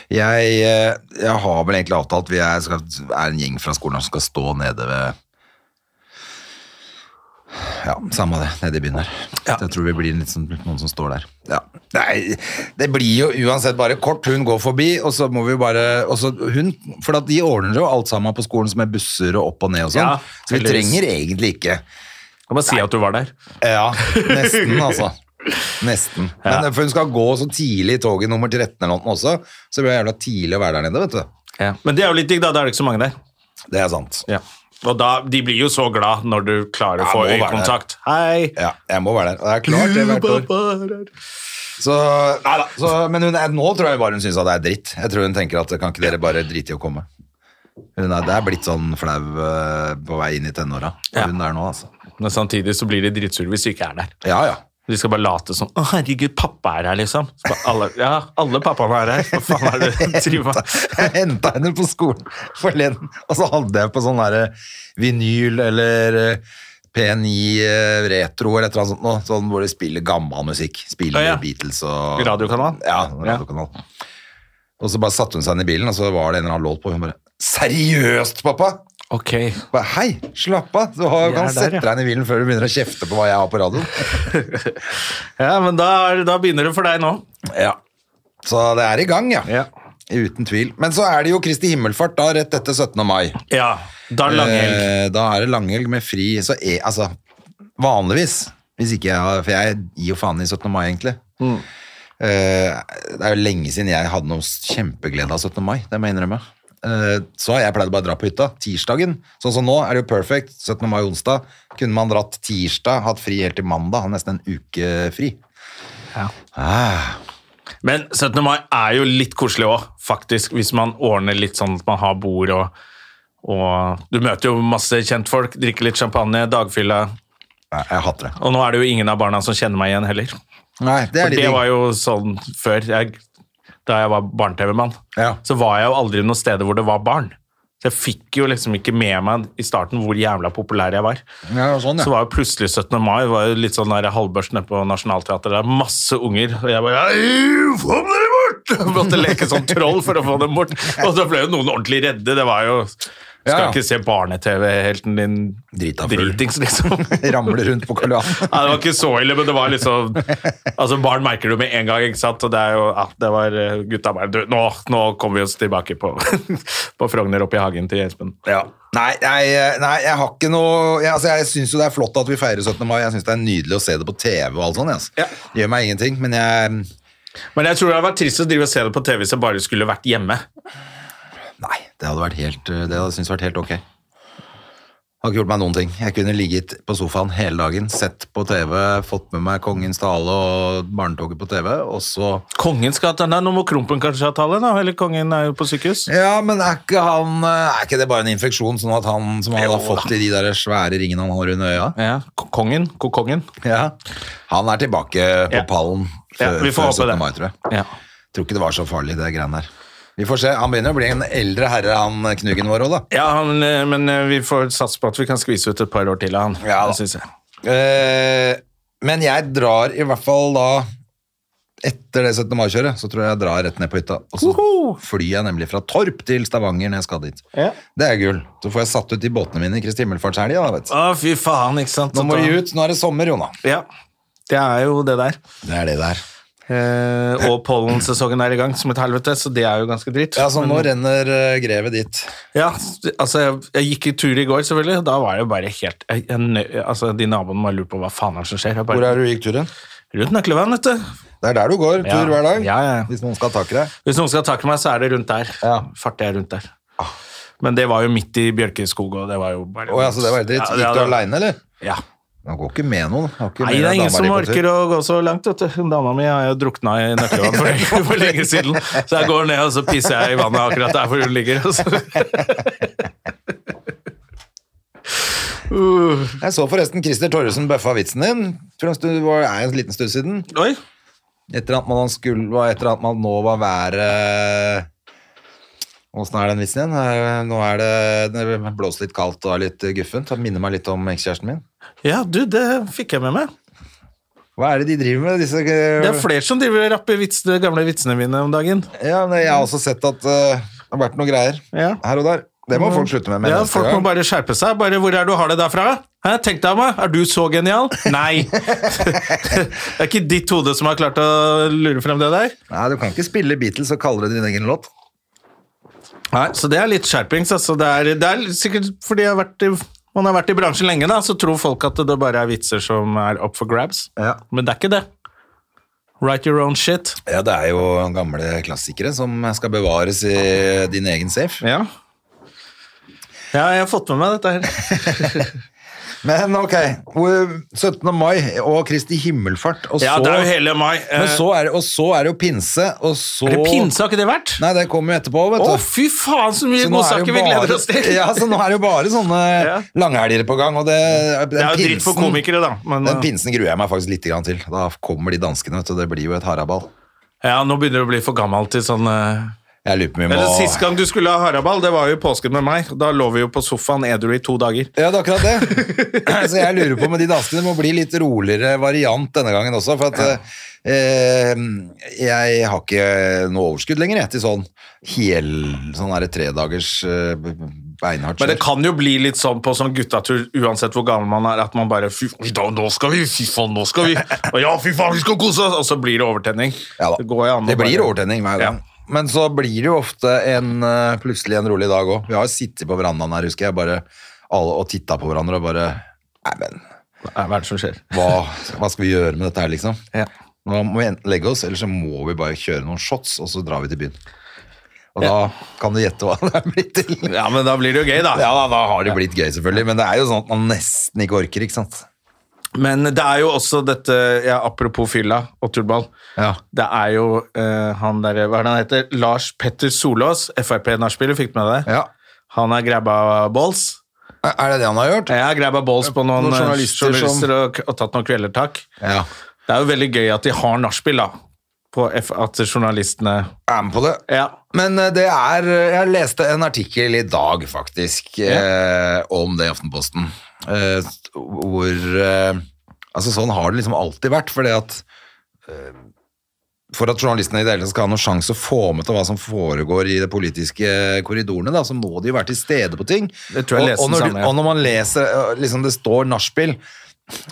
S2: Jeg, eh, jeg har vel egentlig avtalt Vi er, skal, er en gjeng fra skolen som skal stå nede ved Ja, samme det. Nede i byen her.
S1: Ja.
S2: Så Jeg tror vi blir litt sånn, noen som står der. Ja. Nei, det blir jo uansett bare kort. Hun går forbi, og så må vi jo bare og så hun, For at de ordner jo alt sammen på skolen, som er busser og opp og ned og sånn.
S1: Ja,
S2: så vi
S1: heldigvis.
S2: trenger egentlig ikke
S1: Kan bare si at du var der.
S2: ja, nesten altså. Nesten. Men eh, for hun skal gå så tidlig i toget nummer 13 eller noe også, så blir det jævla tidlig å være der nede, vet du.
S1: Ja. Men det er jo litt digg, da. Da er det ikke så mange der.
S2: Det er sant.
S1: Ja. Og da, de blir jo så glad når du klarer å
S2: Ja,
S1: få
S2: må være der.
S1: øyekontakt. Hei!
S2: Ja, jeg må være der. Og Det er klart det hvert år. Så, nei da. Så, men hun, er- nå tror jeg bare hun syns at det er dritt. Jeg tror hun tenker at kan ikke dere bare drite i å komme. Hun er, det er blitt sånn flau eh, på vei inn i tenåra.
S1: Ja.
S2: Hun er nå, altså.
S1: Men samtidig så blir de dritsure hvis du ikke er der.
S2: Ja, ja.
S1: De skal bare late som Å, herregud, pappa er her, liksom. Så bare, alle, ja, alle pappaene er her. Hva faen er det du driver med?
S2: Jeg henta henne på skolen forleden, og så hadde jeg på sånn derre vinyl eller eh, P9 eh, retro eller et eller annet sånt noe, sånn hvor de spiller gammel musikk. Spiller
S1: Å, ja.
S2: Beatles og
S1: Radiokanal?
S2: Ja, radiokanal. Og så bare satte hun seg inn i bilen, og så var det en eller annen låt på, og hun bare Seriøst, pappa?
S1: Ok.
S2: Jeg Bare, Hei, slapp av. Du har,
S1: Jeg
S2: kan
S1: er der,
S2: sette
S1: ja.
S2: deg inn i bilen før du begynner å kjefte på hva jeg har på radioen.
S1: Ja, men da, er, da begynner det for deg nå.
S2: Ja. Så det er i gang, ja.
S1: Ja.
S2: Uten tvil. Men så er det jo Kristi himmelfart da, rett etter 17. mai.
S1: Ja, da er det langhelg.
S2: Eh, Da er det langhelg med fri. Så er, altså, vanligvis, hvis ikke jeg har For jeg gir jo faen i 17. mai, egentlig.
S1: Mm.
S2: Eh, det er jo lenge siden jeg hadde noe kjempeglede av 17. mai, det må jeg innrømme. Eh, så har jeg pleid å bare dra på hytta tirsdagen. Sånn som nå er det jo perfect. 17. mai onsdag. Kunne man dratt tirsdag, hatt fri helt til mandag, har nesten en uke fri. Ah,
S1: Men 17. mai er jo litt koselig òg, faktisk, hvis man ordner litt sånn at man har bord og, og Du møter jo masse kjentfolk, drikker litt champagne, dagfylla.
S2: jeg, jeg hater det.
S1: Og nå er det jo ingen av barna som kjenner meg igjen heller.
S2: Nei, det er
S1: For
S2: litt
S1: det
S2: digg.
S1: var jo sånn før, jeg, da jeg var barne-TV-mann,
S2: Ja.
S1: så var jeg jo aldri noen steder hvor det var barn. Så jeg fikk jo liksom ikke med meg i starten hvor jævla populær jeg var.
S2: Ja, sånn,
S1: Så
S2: ja.
S1: var jo plutselig 17. mai, var jo litt sånn der halvbørs nede på Nationaltheatret, der er masse unger, og jeg bare «Ei, få dere bort! Jeg måtte leke sånn troll for å få dem bort. Og så ble jo noen ordentlig redde, det var jo... Skal
S2: Ja, ja.
S1: ikke se barne-tv-helten din
S2: Drita full.
S1: dritings, liksom.
S2: Ramler rundt på Karl Johan.
S1: Nei, det var ikke så ille, men det var liksom Altså, barn merker det med en gang, ikke sant? Og det er jo Ja, det var eh, gutta bare du, nå, nå kommer vi oss tilbake på, på Frogner oppe i hagen til Espen.
S2: Nei, nei, nei, jeg har ikke noe jeg, altså, jeg syns jo det er flott at vi feirer 17. mai. Jeg syns det er nydelig å se det på TV og alt sånt. jeg, Altså.
S1: Ja.
S2: Det gjør meg ingenting, men jeg
S1: Men jeg tror det hadde vært trist å drive og se det på TV hvis jeg bare skulle vært hjemme.
S2: Nei, det hadde vært helt Det hadde jeg syntes vært helt ok. Har ikke gjort meg noen ting. Jeg kunne ligget på sofaen hele dagen, sett på TV, fått med meg Kongens tale og Barnetoget på TV, og så
S1: Kongen skal ha Nei, nå må Krompen kanskje ha tale, da. Eller kongen er jo på sykehus.
S2: Ja, men er ikke, han, eh, er ikke det bare en infeksjon, sånn at han som han har
S1: Jo da.
S2: fått i de der svære ringene han har under øya
S1: Ja, k- kongen. Kokongen.
S2: ja. Han er tilbake på
S1: Ja.
S2: pallen
S1: Ja,
S2: før,
S1: vi får
S2: før
S1: håpe
S2: 17.
S1: det.
S2: mai, tror jeg.
S1: Ja.
S2: Tror ikke det var så farlig, det greiene der. Vi får se. Han begynner å bli en eldre herre, han knugen vår òg, da.
S1: ja, men, eh, men eh, vi får satse på at vi kan skvise ut et par år til av han.
S2: Ja da.
S1: det synes jeg.
S2: Eh, men jeg drar i hvert fall da Etter det 17. mai-kjøret, så tror jeg jeg drar rett ned på hytta. Og så flyr jeg nemlig fra Torp til Stavanger når jeg skal dit.
S1: Ja.
S2: Det er gull. Så får jeg satt ut de båtene mine i Kristi himmelfartshelga, da, vet du.
S1: Å, fy faen, ikke sant.
S2: Nå må vi ut. Nå er det sommer, Jona.
S1: Ja. Det er jo det der.
S2: Det er det der.
S1: Eh, og pollensesongen er i gang som et helvete, så det er jo ganske dritt.
S2: Ja, så nå renner eh, grevet dit.
S1: Ja, altså, jeg, jeg gikk i tur i går, selvfølgelig, og da var jeg jo bare helt jeg, jeg, nø- altså, De naboene må ha lurt på hva faen er det som skjer. Jeg
S2: Hvor
S1: bare,
S2: er det du gikk turen?
S1: rundt Nøklevann, vet du.
S2: Det er der du går tur
S1: Ja.
S2: hver dag.
S1: Ja, ja.
S2: Hvis noen skal ha tak i deg.
S1: Hvis noen skal ha tak i meg, så er det rundt der.
S2: Ja. Ah.
S1: Farter jeg rundt der. Men det var jo midt i Bjørkeskog, og det var jo bare
S2: Å ja, så det var helt dritt.
S1: Ja,
S2: Gikk du
S1: det-
S2: aleine, eller?
S1: Ja.
S2: Han går ikke med noen. Han går ikke
S1: Nei,
S2: med
S1: det er
S2: dama
S1: ingen som
S2: di på tur.
S1: orker å gå så langt, vet du. Dama mi har jo drukna i nøkkelvann for, for lenge siden, så jeg går ned og så pisser jeg i vannet akkurat der hvor hun ligger. Og så. Uh.
S2: Jeg så forresten Christer Torresen bøffa vitsen din. For en stund, det var er en liten stund siden.
S1: Oi!
S2: Etter at man, skulle, var- etter at man nå var været Åssen er den vitsen igjen? Eh, Nå er det, det blåser litt kaldt og er litt guffent. Det minner meg litt om ekskjæresten min.
S1: Ja, du, det fikk jeg med meg.
S2: Hva er det de driver med? Disse,
S1: Det er flere som driver og rapper vits, de gamle vitsene mine om dagen.
S2: ja, men jeg har også sett at eh, det har vært noe greier
S1: Ja. Mm.
S2: her og der. Det må folk slutte med. med
S1: Ja,
S2: neste
S1: folk må
S2: gang.
S1: bare skjerpe seg. Bare 'Hvor er det du har det derfra?' Hæ, tenk deg meg, er du så genial? Nei! det er ikke ditt hode som har klart å lure frem det der.
S2: Nei, Du kan ikke spille Beatles og kalle det din egen låt.
S1: Nei, Så det er litt skjerpings. Altså. Det, er, det er sikkert fordi jeg har vært i, man har vært i bransjen lenge, da, så tror folk at det bare er vitser som er up for grabs.
S2: Ja.
S1: Men det er ikke det. Write your own shit.
S2: Ja, Det er jo gamle klassikere som skal bevares i din egen safe.
S1: Ja. Ja, jeg har fått med meg dette her.
S2: Men ok, hvor- 17. mai og Kristi himmelfart, og
S1: Ja,
S2: så
S1: det er jo hele mai.
S2: men så er det, og så er det jo pinse, og så
S1: er det pinse, har ikke det vært?
S2: Nei, det kommer jo etterpå, vet
S1: Å,
S2: du.
S1: fy faen, så mye
S2: Så nå er det
S1: godsaker
S2: jo
S1: vi gleder
S2: bare-
S1: oss til!
S2: Ja, altså, så nå er det jo bare sånne
S1: Ja.
S2: langhelger på gang, og det
S1: det er jo dritt for komikere, da. Men, eh.
S2: Den pinsen gruer jeg meg faktisk litt grann til. Da kommer de danskene, vet du. Det blir jo et haraball.
S1: ja, nå begynner du å bli for gammel til sånn eh,
S2: Jeg lurer på om vi
S1: Eller Sist
S2: må
S1: gang du skulle ha haraball, det var jo i påsken med meg. Da lå vi jo på sofaen edru i to dager.
S2: Ja, det er akkurat det. Så jeg lurer på om de danskene må bli litt roligere variant denne gangen også, for at eh, jeg har ikke noe overskudd lenger jeg, til sånn hel, sånn her tredagers eh, beinhardt
S1: Men det
S2: kjør.
S1: kan jo bli litt sånn på sånn guttatur, uansett hvor gammel man er, at man bare fy, f- da, Nå skal vi! Fy faen, nå skal vi! Og ja, fy faen, vi skal kose oss! Og så blir det overtenning.
S2: Ja da.
S1: Det går jo an å
S2: Det blir
S1: bare-
S2: overtenning hver gang. Men så blir det jo ofte en, eh, plutselig en rolig dag òg. Vi har sittet på verandaen her, husker jeg, bare alle og titta på hverandre og bare Nei, men
S1: Ja. Nei, Hva er det som skjer?
S2: hva, hva skal vi gjøre med dette her, liksom?
S1: Ja.
S2: Nå må vi enten legge oss, eller så må vi bare kjøre noen shots, og så drar vi til byen. Og da kan du gjette hva det er blitt til.
S1: ja, men da blir det jo gøy, da.
S2: Ja, da, da har det blitt gøy, selvfølgelig, men det er jo sånn at man nesten ikke orker, ikke sant?
S1: Men det er jo også dette ja, Apropos fylla og tullball.
S2: Ja.
S1: Det er jo eh, han derre Hva er det han heter? Lars Petter Solås, Frp-nachspieler, fikk du med deg det?
S2: Ja.
S1: Han har grabba balls.
S2: Er det det han har gjort?
S1: Jeg har grabba balls på noen,
S2: Noen
S1: eh,
S2: journalister
S1: journalister,
S2: som-
S1: og, og tatt noen kvelertak.
S2: Ja.
S1: Det er jo veldig gøy at de har nachspiel, da. På F at journalistene
S2: Jeg er med på det.
S1: Ja.
S2: Men eh, det er Jeg leste en artikkel i dag, faktisk, eh, om det i Aftenposten. Eh, hvor eh, Altså, sånn har det liksom alltid vært, fordi at eh, for at journalistene i det hele tatt skal ha noen sjanse å få med til hva som foregår i de politiske korridorene, da, så må de jo være til stede på ting.
S1: Det tror jeg jeg
S2: og, og,
S1: leser
S2: når,
S1: den samme,
S2: du,
S1: ja.
S2: og når man leser eh, liksom det står nachspiel,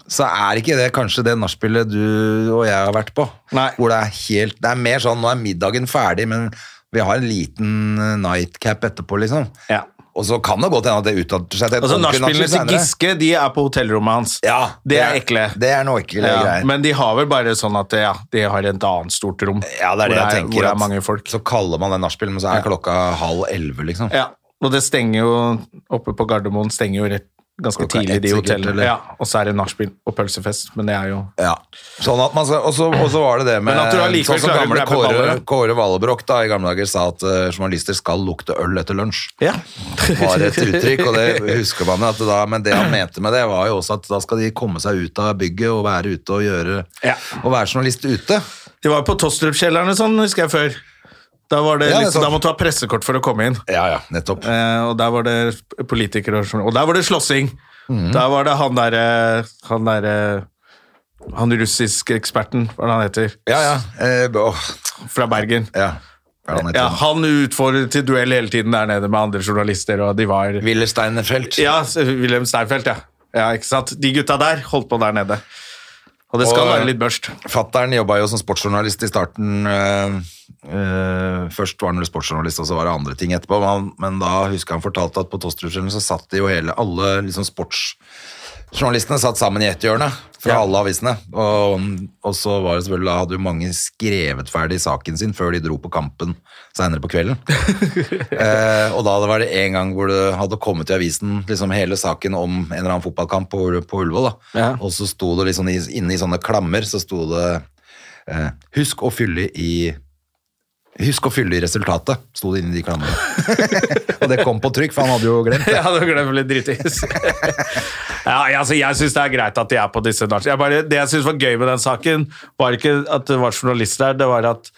S2: så er ikke det kanskje det nachspielet du og jeg har vært på.
S1: Nei.
S2: Hvor det er helt Det er mer sånn nå er middagen ferdig, men vi har en liten eh, nightcap etterpå, liksom.
S1: ja.
S2: Og så kan det godt hende at det utarter seg til et
S1: Altså,
S2: ordentlig
S1: nachspielene
S2: nachspiel
S1: til
S2: senere.
S1: Giske de er på hotellrommet hans.
S2: Ja,
S1: det er ekle.
S2: Det er noe ekle
S1: ja,
S2: greier.
S1: men de har vel bare sånn at ja, de har et annet stort rom
S2: ja, det er
S1: hvor,
S2: det jeg
S1: det er,
S2: tenker.
S1: hvor det
S2: at-
S1: er mange folk.
S2: Så kaller man det nachspiel, men så er klokka halv elleve, liksom.
S1: Ja, og det stenger jo oppe på Gardermoen stenger jo rett ganske
S2: Klokka
S1: tidlig
S2: ett
S1: de
S2: sikkert,
S1: hotellene.
S2: eller?
S1: Ja, og så er det nachspiel og pølsefest, men det er jo
S2: Ja. Sånn at man skal, og, så, og så var det det med
S1: Men at du allikevel
S2: Sånn som
S1: klarer å
S2: gamle
S1: grabbe
S2: Kåre,
S1: baller, da.
S2: Kåre Valebrokk da, i gamle dager sa at eh, journalister skal lukte øl etter lunsj.
S1: Ja.
S2: var et uttrykk, og det husker man at det da, men det han mente med det var jo også at da skal de komme seg ut av bygget og være ute og gjøre,
S1: Ja.
S2: og være journalist ute.
S1: De var jo på Tostrup-kjelleren og sånn, husker jeg før. Da, var det
S2: Ja, det er
S1: liksom,
S2: sant.
S1: da måtte du ha pressekort for å komme inn.
S2: Ja, ja, nettopp.
S1: Eh, og der var det politikere og sånn. Og der var det slåssing!
S2: Mm.
S1: Der var det han derre Han derre Han russiske eksperten, hva er det han heter?
S2: Ja, ja. Eh, åh,
S1: Fra Bergen.
S2: ja. Hva er det han
S1: Ja,
S2: heter?
S1: han utfordret til duell hele tiden der nede med andre journalister, og de var
S2: Willersteinfeld.
S1: Ja, s- Wilhelm Steinfeld, ja. ja. Ikke sant? De gutta der holdt på der nede. Og det skal
S2: Og-
S1: være litt børst.
S2: Fatteren jobbet jo som sportsjournalist i starten. eh, eh, først var han vel sportsjournalist, og så var det andre ting etterpå. Men, han- men da husker jeg han fortalte at på Tosterudskjellen så satt de jo hele, alle liksom sportsjournalistene satt sammen i ett hjørne fra
S1: Ja.
S2: alle avisene. Og, og så var det selvfølgelig, da hadde jo mange skrevet ferdig saken sin før de dro på kampen senere på kvelden. Eh, og da var det en gang hvor det hadde kommet i avisen liksom hele saken om en eller annen fotballkamp på, på Ullevål. Da.
S1: Ja.
S2: Og så sto det liksom i, inne i sånne klammer så sto det eh, 'Husk å fylle i Husk å fylle i resultatet, sto det inni de klammene. og det kom på trykk, for han hadde jo glemt det.
S1: Ja, det glemmer litt drittis. ja, jeg- altså, jeg syns det er greit at de er på disse nachspiel. Jeg bare- Det jeg syns var gøy med den saken, var ikke at det var journalist der, det var at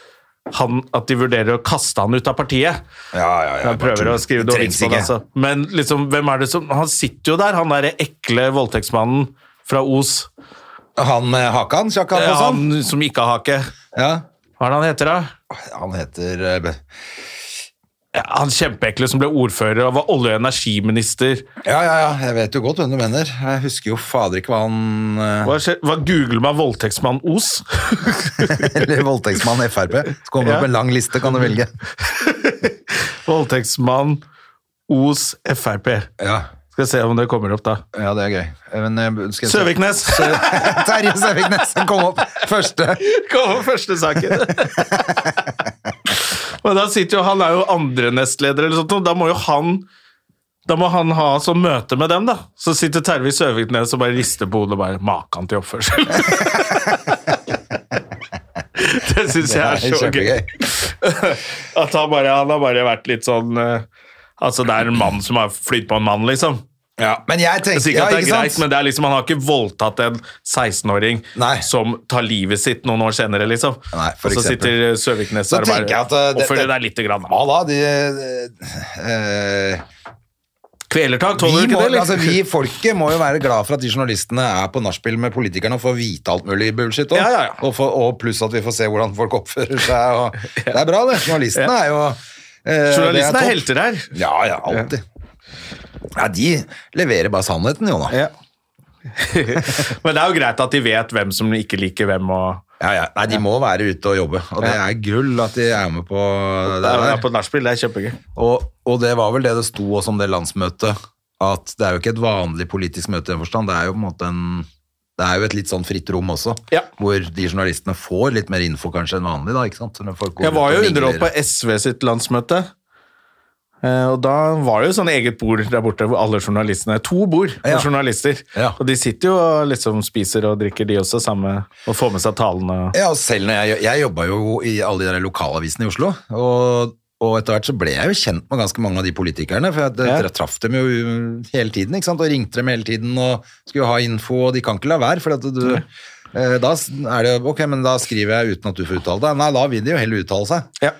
S1: han, at de vurderer å kaste han ut av partiet.
S2: Ja, ja, ja,
S1: han
S2: bare
S1: prøver
S2: tull.
S1: å skrive
S2: Det
S1: noe
S2: trengs
S1: vits på det.
S2: ikke.
S1: Altså. Men liksom, hvem er det som Han sitter jo der, han derre ekle voldtektsmannen fra Os.
S2: Han med Hakan, Sjakan og sånn.
S1: Han som ikke har hake.
S2: Ja.
S1: Hva er det han heter, da?
S2: Han heter eh,
S1: Ja, Han kjempeekle som ble ordfører og var olje- og energiminister.
S2: Ja, ja, ja, jeg vet jo godt hvem du mener. Jeg husker jo fader ikke hva han eh,
S1: Hva, skje- hva googler man voldtektsmann Os?
S2: Eller voldtektsmann Frp. Så kommer det
S1: Ja.
S2: opp en lang liste, kan du velge.
S1: Voldtektsmann Os Frp.
S2: Ja,
S1: Skal se om det kommer opp, da.
S2: ja det er gøy. Men, eh, skal jeg se-
S1: Søviknes!
S2: Terje Søviknes kom opp første.
S1: Kommer første saken. Men da sitter jo Han er jo andre nestleder, eller sånt, og da må jo han da må han ha sånn møte med dem, da. Så sitter Terje Søviknes og bare rister på hodet og bare Makan til oppførsel! det syns jeg er så gøy. At han bare, han har bare vært litt sånn eh, Altså, det er en mann som har flytt på en mann, liksom.
S2: Ja, men jeg
S1: Jeg
S2: tenker
S1: sier ikke
S2: ja,
S1: at det er
S2: ikke
S1: greit,
S2: sant?
S1: men det er liksom, han har ikke voldtatt en 16-åring
S2: Nei.
S1: som tar livet sitt noen år senere, liksom.
S2: Nei, for
S1: og så
S2: eksempel.
S1: sitter eh, Søviknes
S2: Så
S1: der og
S2: tenker jeg
S1: bare
S2: at, eh, det-
S1: oppfører
S2: det-
S1: deg lite grann.
S2: Ja da, de eh,
S1: Kvelertak,
S2: vi,
S1: tåler du
S2: må,
S1: ikke det, liksom? eller?
S2: altså, vi folket må jo være glad for at de journalistene er på nachspiel med politikerne og får vite alt mulig bullshit. også.
S1: Ja, ja, ja.
S2: Og, få- og pluss at vi får se hvordan folk oppfører seg. Og, Det er bra, det. Journalistene er jo eh, det
S1: Journalistene er,
S2: topp.
S1: helter her.
S2: Ja, ja, alltid. Ja, De leverer bare sannheten, Jona. Ja.
S1: Men det er jo greit at de vet hvem som ikke liker hvem, og
S2: Ja, Nei, De må være ute og jobbe, og det er gull at de er med på det
S1: det er,
S2: der.
S1: på nachspiel. Det er kjempegøy.
S2: Og, og det var vel det det sto også om det landsmøtet, at det er jo ikke et vanlig politisk møte i den forstand, det er jo på en måte en det er jo et litt sånn fritt rom også,
S1: Ja.
S2: hvor de journalistene får litt mer info kanskje enn vanlig, da, ikke sant? Så når folk går
S1: Jeg
S2: ut og
S1: var jo
S2: mingler-
S1: underholdt på SV sitt landsmøte. eh, Og da var det jo sånn eget bord der borte hvor alle journalistene To bord med
S2: Ja.
S1: journalister.
S2: Ja.
S1: Og de sitter jo og liksom spiser og drikker, de også, samme, og får med seg talene. og-
S2: Ja, og selv når jeg, jeg jobbet jo i alle de der lokalavisene i Oslo, og, og etter hvert så ble jeg jo kjent med ganske mange av de politikerne, for jeg,
S1: Ja.
S2: jeg traff dem jo hele tiden, ikke sant, og ringte dem hele tiden, og skulle ha info, og de kan ikke la være, for at du, eh, da s- er det jo, ok, men da skriver jeg uten at du får uttale deg, nei, da vil de jo heller uttale seg.
S1: Ja.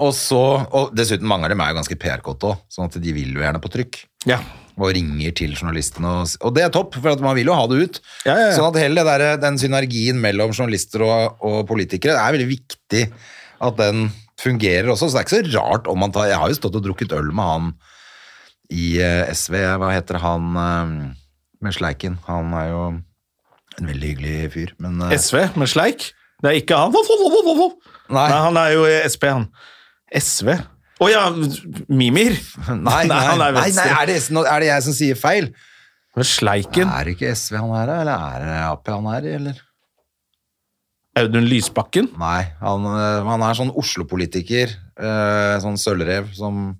S2: Og så, og dessuten mange av dem er jo ganske PR-kåte også, sånn at de vil jo gjerne på trykk
S1: ja.
S2: og ringer til journalistene. Og, og det er topp, for at man vil jo ha det ut.
S1: Ja, ja, ja.
S2: Sånn at hele det der, den synergien mellom journalister og, og politikere det er veldig viktig at den fungerer også. Så det er ikke så rart om man tar Jeg har jo stått og drukket øl med han i eh, SV, hva heter han eh, med sleiken? Han er jo en veldig hyggelig fyr, men eh,
S1: SV med sleik. Det er ikke han. Voff, voff, voff, voff, voff.
S2: Nei.
S1: Nei, han er jo i SP, han. SV. Å ja, Mimir!
S2: Nei, nei,
S1: han
S2: nei,
S1: er
S2: nei,
S1: venstre.
S2: er, det, er det jeg som sier feil?
S1: Men Sleiken,
S2: Er det ikke SV han er, da, eller er det Ap han er i, eller?
S1: Audun Lysbakken
S2: Nei, han, øh, han er sånn Oslo-politiker, øh, sånn sølvrev som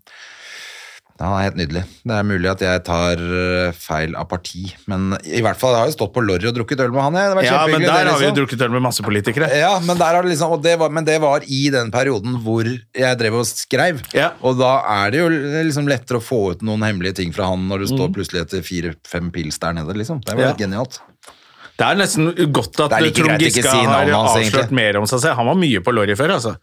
S2: Han er helt nydelig. Det er mulig at jeg tar øh, feil av parti, men i hvert fall jeg har jo stått på lorry og drukket øl med han. Jeg. Det var
S1: Ja, men
S2: kjempehyggelig,
S1: der
S2: det,
S1: har vi jo
S2: liksom.
S1: drukket øl med masse politikere.
S2: Ja, men, der har det liksom, og det var, men det var i den perioden hvor jeg drev og skrev.
S1: Ja.
S2: Og da er det jo liksom lettere å få ut noen hemmelige ting fra han når du står plutselig etter fire-fem pils der nede. liksom. Det var
S1: Mm. Ja.
S2: helt genialt.
S1: Det er nesten godt
S2: Det
S1: at
S2: er like
S1: Trond
S2: greit å ikke
S1: Giske
S2: si
S1: har
S2: navnet hans,
S1: avslørt
S2: egentlig.
S1: mer om seg selv. Han var mye på Lorry før, altså.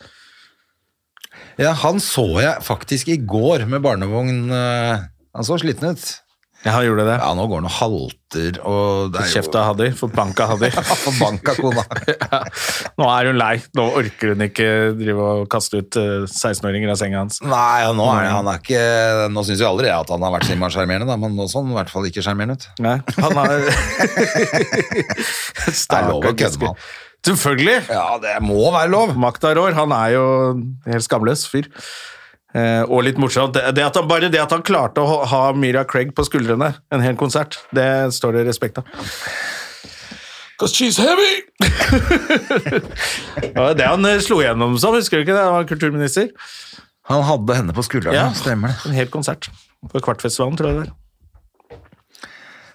S2: Ja, han så jeg faktisk i går med barnevogn. øh, Han så sliten ut.
S1: Ja, han gjorde det.
S2: Ja, nå går han og halter og det er jo-
S1: Kjeft av Haddy, forbanka Haddy.
S2: Forbanka kona.
S1: Ja. Nå er hun lei. Nå orker hun ikke drive og kaste ut eh, 16-åringer av senga hans.
S2: Nei, og nå er det- han er ikke Nå syns jo aldri jeg at han har vært sinna sjarmerende, da, men nå så han i hvert fall ikke sjarmerende ut.
S1: Nei, han har
S2: Det er lov å kødde med han.
S1: Selvfølgelig!
S2: Ja, det må være lov!
S1: Makta rår. Han er jo en helt skamløs fyr. Eh, og litt morsomt. Det, det at han, bare det at han klarte å ha Mira Craig på skuldrene en hel konsert, det står det respekt av. Cause she's heavy! det var det han eh, slo gjennom som, husker du ikke det? Han var kulturminister.
S2: Han hadde henne på skuldrene,
S1: Ja.
S2: stemmer det.
S1: En hel konsert. På Kvartfestivalen, tror jeg det var.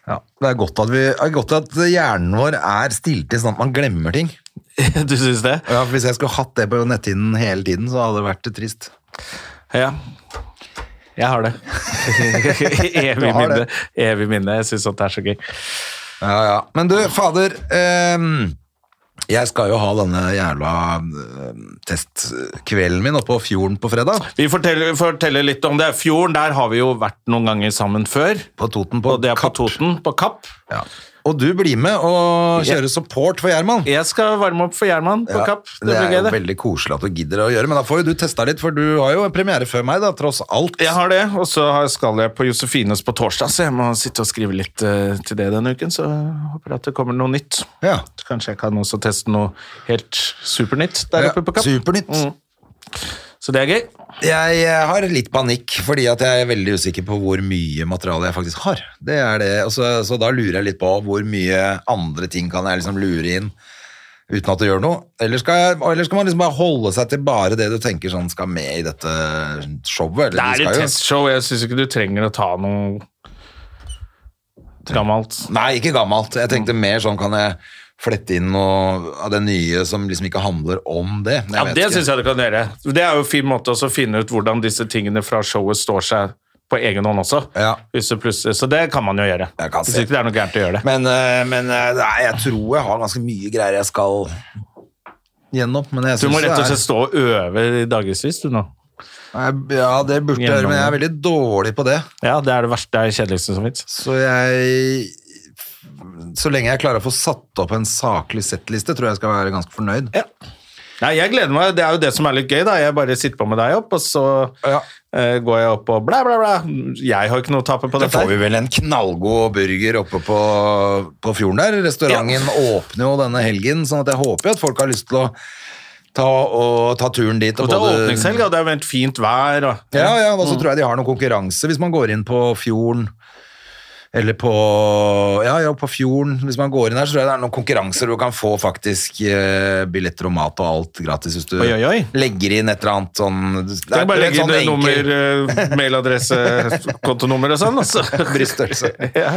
S2: Ja, det er godt at, vi, det er godt at hjernen vår er stilt i sånn at man glemmer ting.
S1: Du syns det?
S2: Ja, Hvis jeg skulle hatt det på netthinnen hele tiden, så hadde det vært trist.
S1: Ja. Jeg har det.
S2: Du
S1: Evig
S2: har
S1: minne.
S2: det.
S1: Evig minne. Jeg syns at det er så gøy.
S2: Ja, ja. Men du, fader. ehm, jeg skal jo ha denne jævla ehm, testkvelden min oppå fjorden på fredag.
S1: Vi forteller, forteller litt om det. Fjorden, der har vi jo vært noen ganger sammen før.
S2: På Toten, på
S1: og det er
S2: Kapp.
S1: på Toten, på Kapp.
S2: Ja. Og du blir med og kjører support for Gjerman.
S1: Jeg skal varme opp for Gjerman på
S2: Ja,
S1: Kapp. Det,
S2: det er
S1: blir
S2: jo
S1: gøy, det.
S2: veldig koselig at du gidder å gjøre, men da får jo du testa litt, for du har jo en premiere før meg, da, tross alt.
S1: Jeg har det, og så har- skal jeg på Josefines på torsdag, så jeg må sitte og skrive litt eh, til det denne uken. Så jeg håper at det kommer noe nytt.
S2: Ja.
S1: Så Kanskje jeg kan også teste noe helt supernytt der
S2: Ja,
S1: oppe på Kapp.
S2: Supernytt.
S1: Mm. Så det er gøy.
S2: Jeg eh, har litt panikk, fordi at jeg er veldig usikker på hvor mye materiale jeg faktisk har. Det er det. Og så, så da lurer jeg litt på hvor mye andre ting kan jeg liksom lure inn uten at det gjør noe. Eller skal, jeg, eller skal man liksom bare holde seg til bare det du tenker sånn skal med i dette showet? Eller,
S1: Det
S2: vi
S1: er
S2: skal
S1: et
S2: jo-
S1: testshow. Jeg syns ikke du trenger å ta noe gammelt.
S2: Nei, ikke gammelt. Jeg tenkte
S1: Mm.
S2: mer sånn kan jeg flette inn noe av det nye som liksom ikke handler om det. Men
S1: Ja,
S2: jeg vet
S1: det
S2: ikke.
S1: syns jeg du kan gjøre. Det er jo en fin måte også å finne ut hvordan disse tingene fra showet står seg på egen hånd også.
S2: Ja.
S1: Hvis du plutselig- så det kan man jo gjøre.
S2: Jeg kan
S1: Hvis
S2: se.
S1: ikke det er noe gærent å gjøre det.
S2: Men, eh, men eh, nei, jeg tror jeg har ganske mye greier jeg skal gjennom. Men jeg
S1: Du må
S2: synes
S1: rett og
S2: det er-
S1: slett stå og øve i dagevis, du nå.
S2: Nei, Ja, det burde jeg gjøre, men jeg er veldig dårlig på det.
S1: Ja, det er det verste, det er det kjedeligste som fins.
S2: Så jeg Så lenge jeg klarer å få satt opp en saklig settliste, tror jeg jeg skal være ganske fornøyd.
S1: Nei, jeg gleder meg. Det er jo det som er litt gøy, da. Jeg bare sitter på med deg opp, og så
S2: Ja.
S1: eh, går jeg opp og blæ, blæ, blæ. Jeg har ikke noe å tape
S2: Da
S1: på dette.
S2: får vi
S1: her.
S2: vel en knallgod burger oppe på, på fjorden der. Restauranten åpner jo denne helgen, sånn at jeg håper jo at folk har lyst til å ta, og, ta turen dit.
S1: Og det er
S2: både-
S1: åpningshelg, Mm. og det er veldig fint vær. Og,
S2: Ja, ja, og så tror jeg de har noen konkurranse hvis man går inn på fjorden. Eller på Ja, ja, på fjorden. Hvis man går inn her, så tror jeg det er noen konkurranser hvor du kan få faktisk eh, billetter og mat og alt gratis hvis du
S1: Oi, oi, oi.
S2: legger inn et eller annet sånn Det
S1: Det er bare å
S2: en
S1: legge inn
S2: sånn enkel-
S1: nummer, eh, mailadresse, kontonummer og sånn. Altså.
S2: Bryststørrelse.
S1: ja.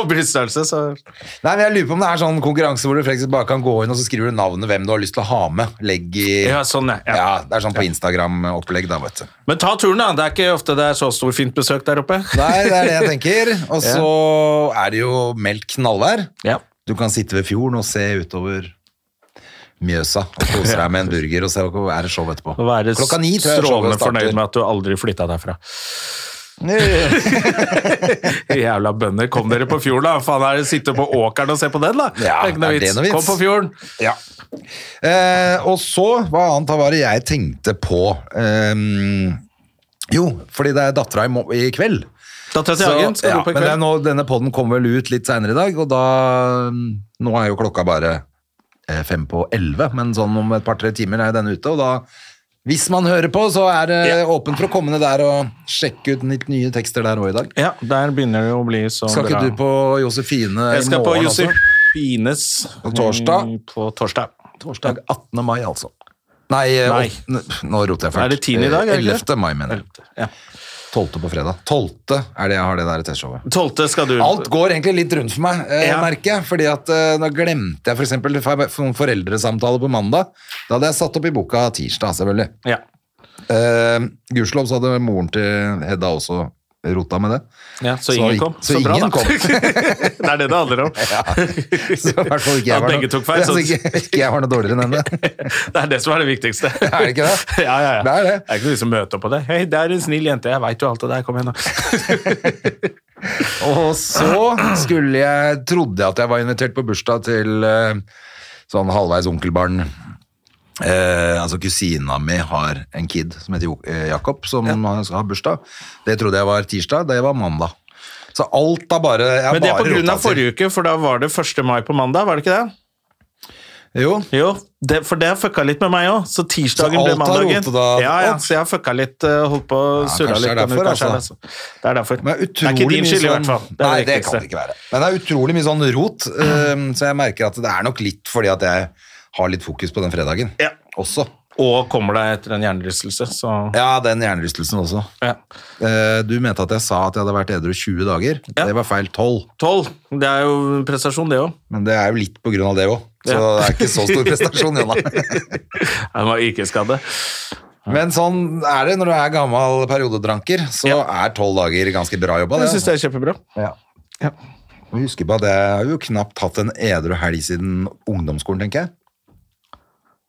S1: Og bryststørrelse, så
S2: Nei, men jeg lurer på om det er sånn konkurranse hvor du faktisk bare kan gå inn og så skriver du navnet hvem du har lyst til å ha med. Legg i
S1: Ja, sånn, ja.
S2: Ja,
S1: ja.
S2: det er sånn på Instagram-opplegg, da, vet du.
S1: Men ta turen, da. Det er ikke ofte det er så stor fint besøk der oppe.
S2: Nei, det er det jeg tenker. Og så er det jo meldt knallvær.
S1: Ja.
S2: Du kan sitte ved fjorden og se utover Mjøsa og kose deg med en burger og se hva er det show etterpå.
S1: Og være
S2: Klokka ni tror jeg
S1: strålende
S2: showet starter.
S1: fornøyd med at du aldri flytta derfra. Jævla bønder, kom dere på fjorden, da! Faen, er det sitte på åkeren og se på den, da?
S2: Ja,
S1: det er ikke noe
S2: er det
S1: vits.
S2: noe vits?
S1: Kom på fjorden!
S2: Ja. Eh, og så, hva annet var det jeg tenkte på? Ehm, jo, fordi det er dattera i, mo- i kveld.
S1: Dattera til
S2: Så-
S1: Hagen skal
S2: ja,
S1: gå på i
S2: men det er
S1: kveld.
S2: nå, denne podden kommer vel ut litt senere i dag, og da mm, Nå er jo klokka bare eh, fem på elleve, men sånn om et par-tre timer er den ute, og da hvis man hører på, så er det åpent for å komme ned der og sjekke ut litt nye tekster der òg i dag.
S1: Ja, der begynner det å bli så
S2: Skal ikke
S1: bra.
S2: du på Josefine
S1: Jeg
S2: i
S1: skal på
S2: morgen også?
S1: Josefines
S2: På torsdag.
S1: På torsdag.
S2: Torsdag 18. mai, altså. Nei, eh,
S1: Nei.
S2: åttende- nå roter jeg fælt.
S1: Er det 10. i dag, er det ikke det?
S2: 11. mai, mener jeg.
S1: Ja.
S2: 12. på fredag. 12. er det jeg har det der testshowet.
S1: 12. skal du
S2: Alt går egentlig litt rundt for meg, eh,
S1: Ja.
S2: merker jeg. fordi at eh, da glemte jeg for eksempel for- for en foreldresamtale på mandag. Da hadde jeg satt opp i boka tirsdag, selvfølgelig.
S1: Ja.
S2: Eh, Gudskjelov så hadde moren til Hedda også rota med det.
S1: ja
S2: Så
S1: så, ingen
S2: i-
S1: kom.
S2: så
S1: Så, bra,
S2: ingen
S1: da.
S2: kom.
S1: det er det det handler om.
S2: Så i hvert fall ikke jeg
S1: At
S2: var
S1: begge
S2: noe,
S1: tok feil,
S2: altså,
S1: så-
S2: ikke, ikke jeg var noe dårligere enn henne.
S1: Det er det som er det viktigste.
S2: Er det ikke det?
S1: Ja, ja, ja.
S2: Det er det.
S1: Det er ikke noe som møter opp på det. Hei, det er en snill jente. Jeg veit jo alt det der. Kom igjen, nå.
S2: Og så skulle jeg, trodde jeg at jeg var invitert på bursdag til eh, sånn halvveis onkelbarn. Eh, altså Kusina mi har en kid som heter Jo- eh, Jakob, som har- skal ha bursdag. Det trodde jeg var tirsdag, det var mandag. Så alt har bare jeg har
S1: Men det er på
S2: bare
S1: grunn
S2: rota
S1: av
S2: til-
S1: forrige uke, for da var det 1. mai på mandag, var det ikke det?
S2: Jo,
S1: Jo, det, for det har fucka litt med meg òg, så tirsdagen
S2: Så
S1: ble
S2: alt har
S1: mandagen.
S2: rotet da
S1: ja, ja,
S2: opp?
S1: så jeg har fucka litt, eh, holdt på å
S2: Ja, kanskje
S1: surra litt.
S2: det er
S1: denne
S2: derfor,
S1: uka, kanskje
S2: altså.
S1: det, altså. Det er derfor.
S2: men
S1: Det er
S2: utrolig
S1: ikke din
S2: mye
S1: skyld, i
S2: sånn-
S1: hvert fall.
S2: Nei, det
S1: det
S2: kan
S1: viktigste.
S2: det ikke være. Men det er utrolig mye sånn rot, eh, så jeg merker at det er nok litt fordi at jeg har litt fokus på den fredagen
S1: Ja.
S2: også.
S1: og kommer deg etter en hjernerystelse. Så
S2: Ja, den hjernerystelsen også.
S1: ja.
S2: Eh, Du mente at jeg sa at jeg hadde vært edru 20 dager.
S1: Ja.
S2: Det var feil 12,
S1: 12. Det er jo en prestasjon, det òg.
S2: men det er jo litt på grunn av det òg. Så
S1: Ja.
S2: det er ikke så stor prestasjon, Jonna.
S1: Han var yrkesskade.
S2: Men sånn er det når du er gammel periodedranker, så er 12 dager ganske bra jobba.
S1: Jeg syns det er kjempebra.
S2: Ja. Og Husk på at jeg har jo knapt hatt en edru helg siden ungdomsskolen, tenker jeg.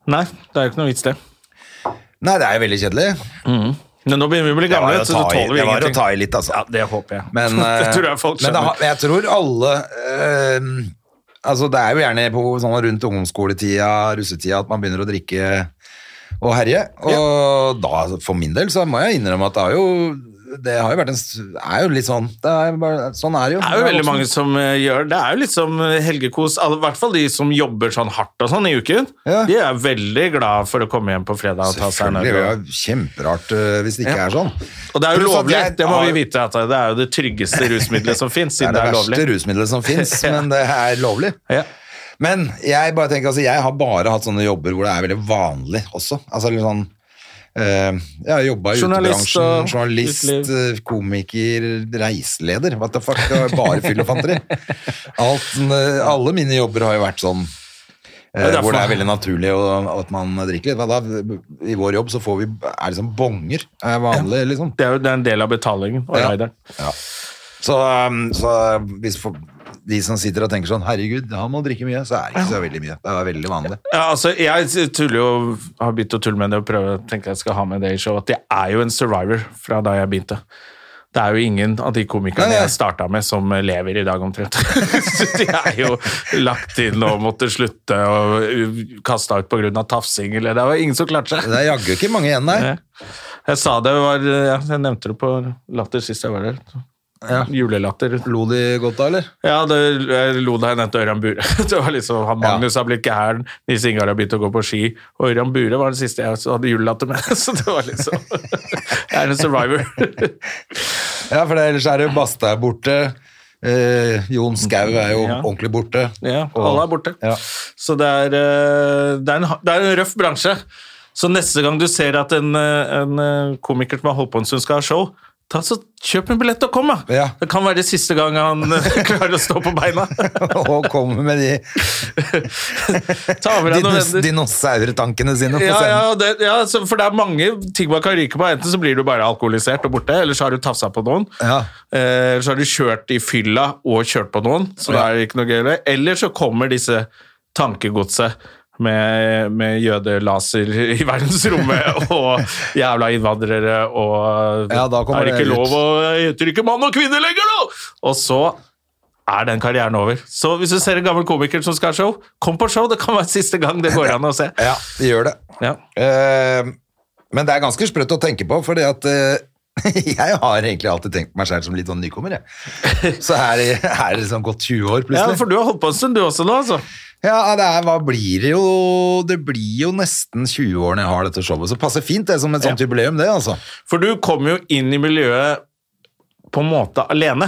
S1: Nei, det er jo ikke noe vits, det.
S2: Nei, det er jo veldig kjedelig.
S1: Men nå begynner vi å bli
S2: Det var
S1: gamle,
S2: jo
S1: så du
S2: å ta i-
S1: tåler
S2: det
S1: jo
S2: var å
S1: ingenting.
S2: ta i litt, altså.
S1: Ja, det håper jeg.
S2: Men, eh,
S1: det tror jeg folk
S2: men det,
S1: skjønner.
S2: har- jeg tror alle eh, Altså, det er jo gjerne på, sånn rundt ungdomsskoletida, russetida, at man begynner å drikke og herje. Og da, for min del, så må jeg innrømme at det har jo det har jo vært en s- er jo litt sånn det er bare, Sånn er det jo.
S1: Det er jo veldig mange som eh, gjør Det er jo litt som eh, helgekos. alle- I hvert fall de som jobber sånn hardt og sånn i uken.
S2: Ja.
S1: De er veldig glad for å komme hjem på fredag og ta seg en
S2: Selvfølgelig. Det
S1: øl.
S2: er jo kjemperart eh, hvis det ikke
S1: Ja.
S2: er sånn.
S1: Og det er jo
S2: Pluss at
S1: lovlig,
S2: jeg
S1: det må vi
S2: har-
S1: vite. at Det er jo det tryggeste rusmiddelet som fins,
S2: Det
S1: siden
S2: er det,
S1: det er
S2: verste
S1: lovlig.
S2: rusmiddelet som fins, men det er lovlig.
S1: Ja.
S2: Men jeg bare tenker, altså, jeg har bare hatt sånne jobber hvor det er veldig vanlig også. Altså litt sånn eh, Jeg har jobba i
S1: Journalist og
S2: utebransjen, journalist,
S1: uteliv.
S2: eh, komiker, reiseleder. What the fuck? Det var bare fyll og fanteri. Alt, eh, alle mine jobber har jo vært sånn. eh,
S1: Det er derfor-
S2: hvor det er veldig naturlig å, at man drikker litt. Hva da? I vår jobb så får vi er liksom bonger. Er vanlig, liksom.
S1: Det er jo det er en del av betalingen og
S2: Ja.
S1: rideren.
S2: Så, um, så hvis for, de som sitter og tenker sånn Herregud, han må drikke mye, så er det ikke så veldig mye. Det er veldig vanlig.
S1: Ja, altså, jeg tuller jo, har begynt å tulle med det og prøve tenker jeg skal ha med det i show, at jeg er jo en survivor fra da jeg begynte. Det er jo ingen av de komikerne
S2: Nei, nei.
S1: jeg starta med, som lever i dag omtrent. Så de er jo lagt inn og måtte slutte og kasta ut pga. tafsing, eller det var ingen som klarte seg.
S2: Det er jaggu ikke mange igjen, nei.
S1: Nei. Jeg sa det var ja, Jeg nevnte det på Latter sist jeg var der. Julelatter.
S2: Lo de godt da, eller?
S1: Ja, det, jeg lo da jeg nevnte Ørjan Bure. Det var liksom, han Magnus har blitt gæren, Nils Ingar har begynt å gå på ski, og Ørjan Bure var den siste jeg hadde julelatter med. Så det var liksom Jeg er en survivor.
S2: Ja, for det, ellers er det jo Basta er borte. Eh, Jon Skau er jo
S1: Ja.
S2: ordentlig borte.
S1: Ja,
S2: Og-
S1: alle er borte.
S2: Ja.
S1: Så det er, eh, det, er en, det er en røff bransje. Så neste gang du ser at en, eh, en eh, komiker som har holdt på en stund, skal ha show, ta så kjøp en billett og kom, da!
S2: Ja.
S1: Det kan være det siste gang han eh, klarer å stå på beina.
S2: og kommer med de
S1: Ta med deg noen
S2: dinos
S1: venner.
S2: dinosaurtankene sine på
S1: Ja,
S2: scenen.
S1: ja, det, ja så, for det er mange ting man kan ryke på. Enten så blir du bare alkoholisert og borte, eller så har du tafsa på noen.
S2: Ja.
S1: Eh, Eller så har du kjørt i fylla og kjørt på noen, så da er det ikke noe gøy. med. Eller så kommer disse tankegodset. Med, med jødelaser i verdensrommet og jævla innvandrere og
S2: Ja, da kommer
S1: Er det
S2: det
S1: ikke
S2: ut.
S1: lov å heter ikke mann og kvinne lenger, da?! Og så er den karrieren over. Så hvis du ser en gammel komiker som skal ha show, kom på show! Det kan være siste gang det går an å se.
S2: Ja, de gjør det.
S1: Ja.
S2: Eh, men det er ganske sprøtt å tenke på, fordi at eh, jeg har egentlig alltid tenkt på meg selv som litt sånn nykommer, jeg. Så her er det liksom gått 20 år,
S1: Ja,
S2: plutselig.
S1: for du har holdt på en stund, du også nå, altså.
S2: Ja, det er, hva blir det jo Det blir jo nesten 20 år når jeg har dette showet, så passer fint det som et sånt jubileum, det, altså.
S1: For du kom jo inn i miljøet på en måte alene.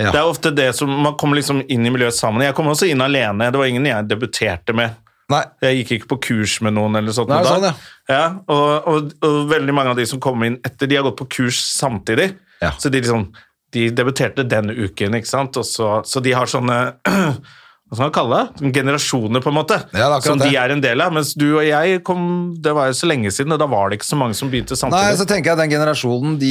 S2: Ja.
S1: Det er ofte det som Man kommer liksom inn i miljøet sammen. Jeg kom også inn alene. Det var ingen jeg debuterte med.
S2: Nei,
S1: Jeg gikk ikke på kurs med noen eller sånt.
S2: Nei,
S1: noe
S2: sånn,
S1: da. Ja, og, og, og veldig mange av de som kommer inn etter, de har gått på kurs samtidig.
S2: Ja.
S1: Så de liksom De debuterte den uken, ikke sant. Og så, så de har sånne hva skal man kalle det? Sånne Generasjoner, på en måte,
S2: Ja, det er akkurat
S1: som de
S2: det.
S1: er en del av. Mens du og jeg kom Det var jo så lenge siden, og da var det ikke så mange som begynte
S2: Nei
S1: samtidig.
S2: så tenker jeg at den generasjonen de,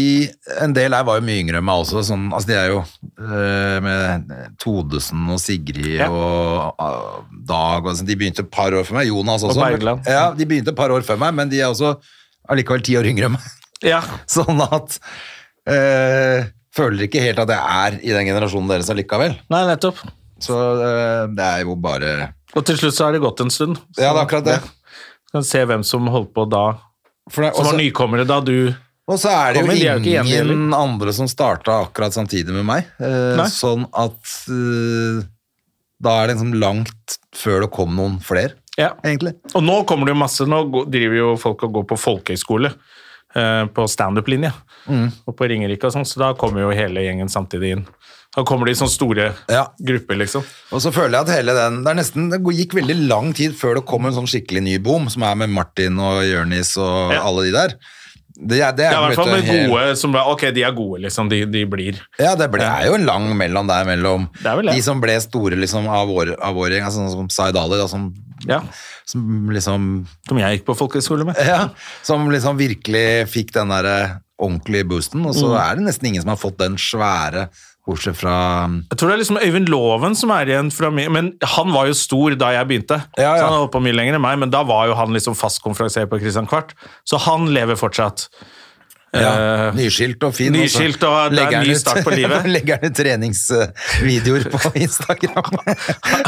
S2: En del her var jo mye yngre enn meg også. Sånn, altså de er jo eh, med Todesen og Sigrid
S1: Ja.
S2: og ah, Dag og sånn. De begynte et par år før meg. Jonas også.
S1: Bergland.
S2: Ja, de begynte et par år før meg, men de er også allikevel ti år yngre enn meg.
S1: Ja,
S2: Sånn at eh, Føler ikke helt at jeg er i den generasjonen deres allikevel.
S1: nei, nettopp.
S2: Så eh, det er jo bare
S1: Og til slutt så har det gått en stund. Så
S2: Ja, det er akkurat det.
S1: Skal vi se hvem som holdt på da.
S2: For det-
S1: Som var
S2: også-
S1: nykommere da du
S2: Og så er det jo
S1: Kommer, de er jo ikke
S2: ingen
S1: enige heller.
S2: andre som starta akkurat samtidig med meg. eh,
S1: Nei.
S2: sånn at eh, da er det liksom langt før det kom noen flere,
S1: Ja.
S2: egentlig.
S1: Og nå kommer det jo masse. Nå går- driver jo folk og går på folkehøyskole. eh, på standup-linja. Og på Ringerike og sånn, så da kommer jo hele gjengen samtidig inn. Da kommer de i sånne store
S2: Ja.
S1: grupper, liksom.
S2: Og så føler jeg at hele den Det, er nesten, det gikk veldig lang tid før det kom en sånn skikkelig ny boom, som er med Martin og Jørnis og
S1: Ja.
S2: alle de der. Det, er- det er
S1: Ja, i hvert
S2: på en
S1: fall med
S2: måte helt-
S1: gode som bare, Ok, de er gode, liksom. De, de blir.
S2: Ja, det ble, er jo en lang mellom der mellom
S1: Det er vel det.
S2: de som ble store liksom, av vår av vår gjeng, altså, sånn som Zaid Ali, da, som,
S1: Ja.
S2: som liksom
S1: Som jeg gikk på folkehøyskole med.
S2: ja, Som liksom virkelig fikk den der eh, ordentlige boosten, og så
S1: Mm.
S2: er det nesten ingen som har fått den svære, bortsett fra
S1: Jeg tror det er liksom Øyvind Loven som er igjen fra min Men han var jo stor da jeg begynte.
S2: Ja, ja.
S1: Så han har holdt på mye lenger enn meg, men da var jo han liksom fast konferansier på Christian Kvart. Så han lever fortsatt.
S2: ja,
S1: Eh,
S2: nyskilt og fin. og så
S1: nyskilt, og det er
S2: legger
S1: en
S2: han
S1: ny
S2: ut-
S1: start på livet.
S2: legger han ut treningsvideoer på Instagram.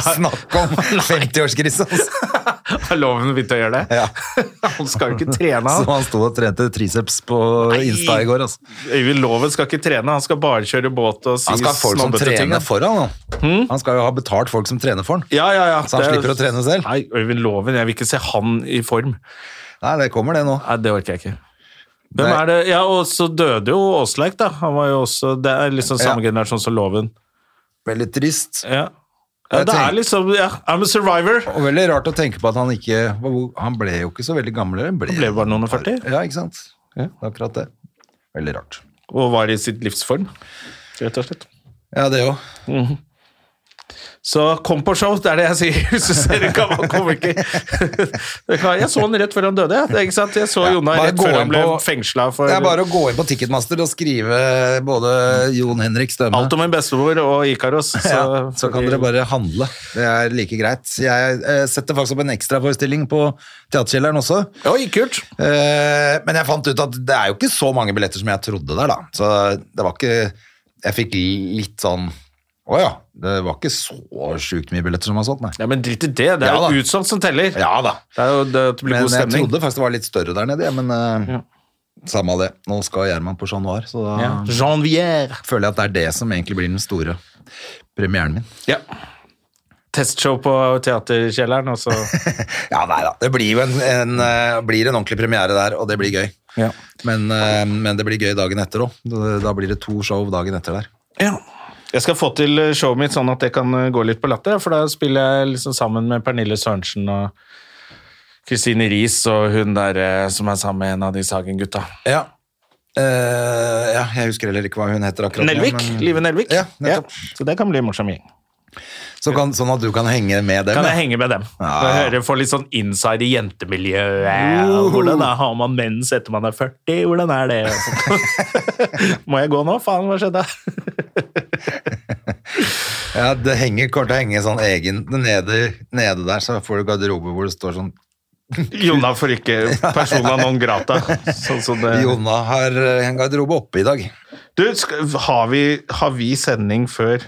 S2: Snakk om 50-årskrisa, altså.
S1: Har Loven begynt å gjøre det?
S2: Ja.
S1: Han skal jo ikke trene,
S2: Så
S1: han.
S2: han sto og trente triceps på Insta i går, altså.
S1: Øyvind Loven skal ikke trene, han skal bare kjøre båt og si
S2: Han skal ha folk som
S1: snobbete ting.
S2: trener
S1: da.
S2: for han. da.
S1: Hmm?
S2: Han skal jo ha betalt folk som trener for han.
S1: Ja, ja, ja.
S2: Så han
S1: Det er-
S2: slipper å trene selv.
S1: Nei, Øyvind Loven, jeg vil ikke se han i form.
S2: Nei, det kommer det nå.
S1: Nei, det orker jeg ikke. Hvem
S2: Nei.
S1: er det? Ja, og så døde jo Åsleik, da. Han var jo også, Det er liksom samme
S2: Ja.
S1: generasjon som Loven.
S2: Veldig trist.
S1: Ja. ja
S2: Jeg
S1: det
S2: tenker-
S1: er liksom ja, I'm a survivor.
S2: Og veldig rart å tenke på at han ikke Han ble jo ikke så veldig gammel. Han ble,
S1: Han ble bare noen og førti.
S2: Ja, ikke sant. Det er akkurat det. Veldig rart.
S1: Og var i sitt livsform, rett og slett.
S2: Ja, det òg.
S1: Så kom på show, det er det jeg sier. Hvis du ser en gammel komiker Det kan- Jeg så han rett før han døde. jeg. Det er Ikke sant? Jeg så
S2: Ja,
S1: Jonna
S2: bare
S1: rett
S2: gå
S1: før
S2: inn
S1: han ble
S2: på-
S1: fengsla for
S2: Det er bare å gå inn på Ticketmaster og skrive både Jon Henrik Stømme
S1: alt om en bestemor og Ikaros. Så,
S2: ja, så kan dere bare handle. Det er like greit. Jeg eh, setter faktisk opp en ekstraforestilling på Teaterkjelleren også.
S1: Oi, kult!
S2: Eh, men jeg fant ut at det er jo ikke så mange billetter som jeg trodde der, da. Så det var ikke Jeg fikk litt sånn Å ja. Det var ikke så sjukt mye billetter som var solgt, nei.
S1: Ja, men drit i det. Det er
S2: Ja, da.
S1: jo utsolgt som teller.
S2: Ja da.
S1: Det er jo det at det blir
S2: Men
S1: god
S2: jeg
S1: stemning.
S2: trodde faktisk det var litt større der nede, jeg, men eh,
S1: Ja.
S2: samme av det. Nå skal Gjerman på Chat Noir, så da
S1: Ja. Jean Vier.
S2: føler jeg at det er det som egentlig blir den store premieren min.
S1: Ja. Testshow på teaterkjelleren, og så
S2: Ja, nei da. Det blir jo en, en, eh, blir en ordentlig premiere der, og det blir gøy.
S1: ja.
S2: Men, eh, men det blir gøy dagen etter òg. Da blir det to show dagen etter der.
S1: Jeg skal få til showet mitt sånn at det kan eh, gå litt på latter, for da spiller jeg liksom sammen med Pernille Sørensen og Kristine Riis og hun der eh, som er sammen med en av de Sagen-gutta.
S2: Ja. Eh, ja, jeg husker heller ikke hva hun heter akkurat nå,
S1: Nelvik!
S2: men-
S1: Live Nelvik.
S2: Ja, nettopp.
S1: Så det kan bli en morsom gjeng.
S2: Så kan, sånn at du kan henge med dem.
S1: Kan jeg
S2: ja.
S1: henge med dem?
S2: Ja.
S1: Og høre, Få litt sånn inside i jentemiljøet.
S2: Uh.
S1: Hvordan er, har man mens etter man er 40? Hvordan er det? Og sånt. Må jeg gå nå? Faen, hva skjedde?
S2: Ja, det henger, kommer til å henge sånn egen nede, nede der, så får du garderobe hvor det står sånn
S1: Jonna får ikke persona non grata. Sånn som det.
S2: Jonna har eh, en garderobe oppe i dag.
S1: Du, skal, har, vi, har vi sending før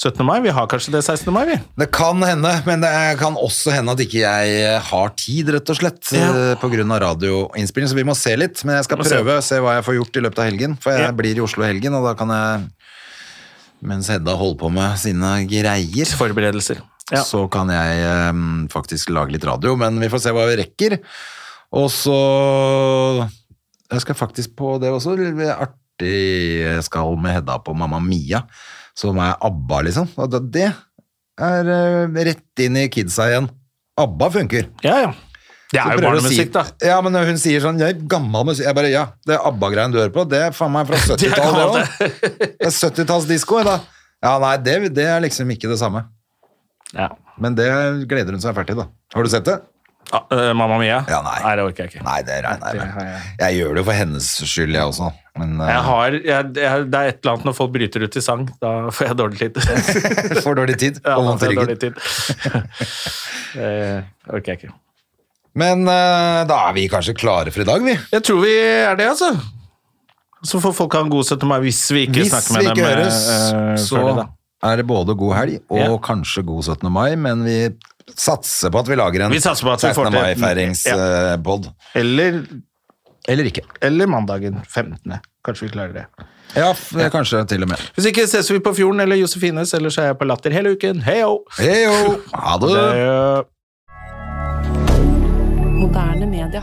S1: 17. mai? Vi har kanskje det 16. mai, vi.
S2: Det kan hende, men det er- kan også hende at ikke jeg eh, har tid, rett og slett,
S1: Ja.
S2: eh, på grunn av radioinnspilling, så vi må se litt. Men jeg skal
S1: Må se.
S2: prøve å se hva jeg får gjort i løpet av helgen, for jeg
S1: Ja.
S2: blir i Oslo i helgen, og da kan jeg, mens Hedda holder på med sine greier,
S1: Forberedelser. Ja.
S2: så kan jeg eh, faktisk lage litt radio, men vi får se hva vi rekker. Og så Jeg skal faktisk på det også. Det er artig jeg skal med Hedda på Mamma Mia, som er ABBA, liksom. Og da- det er eh, rett inn i kidsa igjen. ABBA funker.
S1: ja, ja.
S2: Så
S1: Det er
S2: prøver hun
S1: jo
S2: å
S1: barnemusikk, da.
S2: si, da. Ja, men hun sier sånn Jeg er gammel musikk. Jeg bare Ja, det ABBA-greien du hører på, det er faen meg fra
S1: Det er
S2: 70-tallet, det òg. Det er 70-tallsdisko, da. Ja, nei, det, det er liksom ikke det samme.
S1: Ja.
S2: Men det gleder hun seg fælt til, da. Har du sett det?
S1: Ah, eh, Mamma mia?
S2: Ja, nei.
S1: det orker jeg ikke.
S2: Nei, det regner jeg
S1: det har
S2: med.
S1: jeg.
S2: Jeg gjør det jo for hennes skyld, jeg også. Men
S1: Jeg
S2: uh,
S1: har, jeg, jeg, det er et eller annet når folk bryter ut i sang. Da får jeg dårlig tid.
S2: eh, for dårlig tid
S1: Ja,
S2: og
S1: da
S2: vondt i
S1: får jeg dårlig
S2: ryggen.
S1: tid. Det orker jeg ikke.
S2: Men eh, da er vi kanskje klare for i dag, vi.
S1: Jeg tror vi er det, altså. Så får folk ha en god 17. mai hvis vi ikke
S2: Hvis
S1: snakker
S2: vi
S1: med
S2: ikke
S1: dem. eh,
S2: høres,
S1: eh,
S2: så
S1: før det, da.
S2: er det både god helg og
S1: Ja.
S2: kanskje god 17. mai, men vi satser på at vi lager en
S1: Vi satser på at vi
S2: 16.
S1: får til- Ja.
S2: mai-feiringspod.
S1: Eller,
S2: Eller ikke.
S1: eller mandagen 15. Kanskje vi klarer det.
S2: Ja, f- kanskje til og med.
S1: Hvis ikke ses vi på Fjorden eller Josefines, ellers er jeg på Latter hele uken. Heyo!
S2: Heyo! Ha det!
S1: Det-
S3: Moderne media.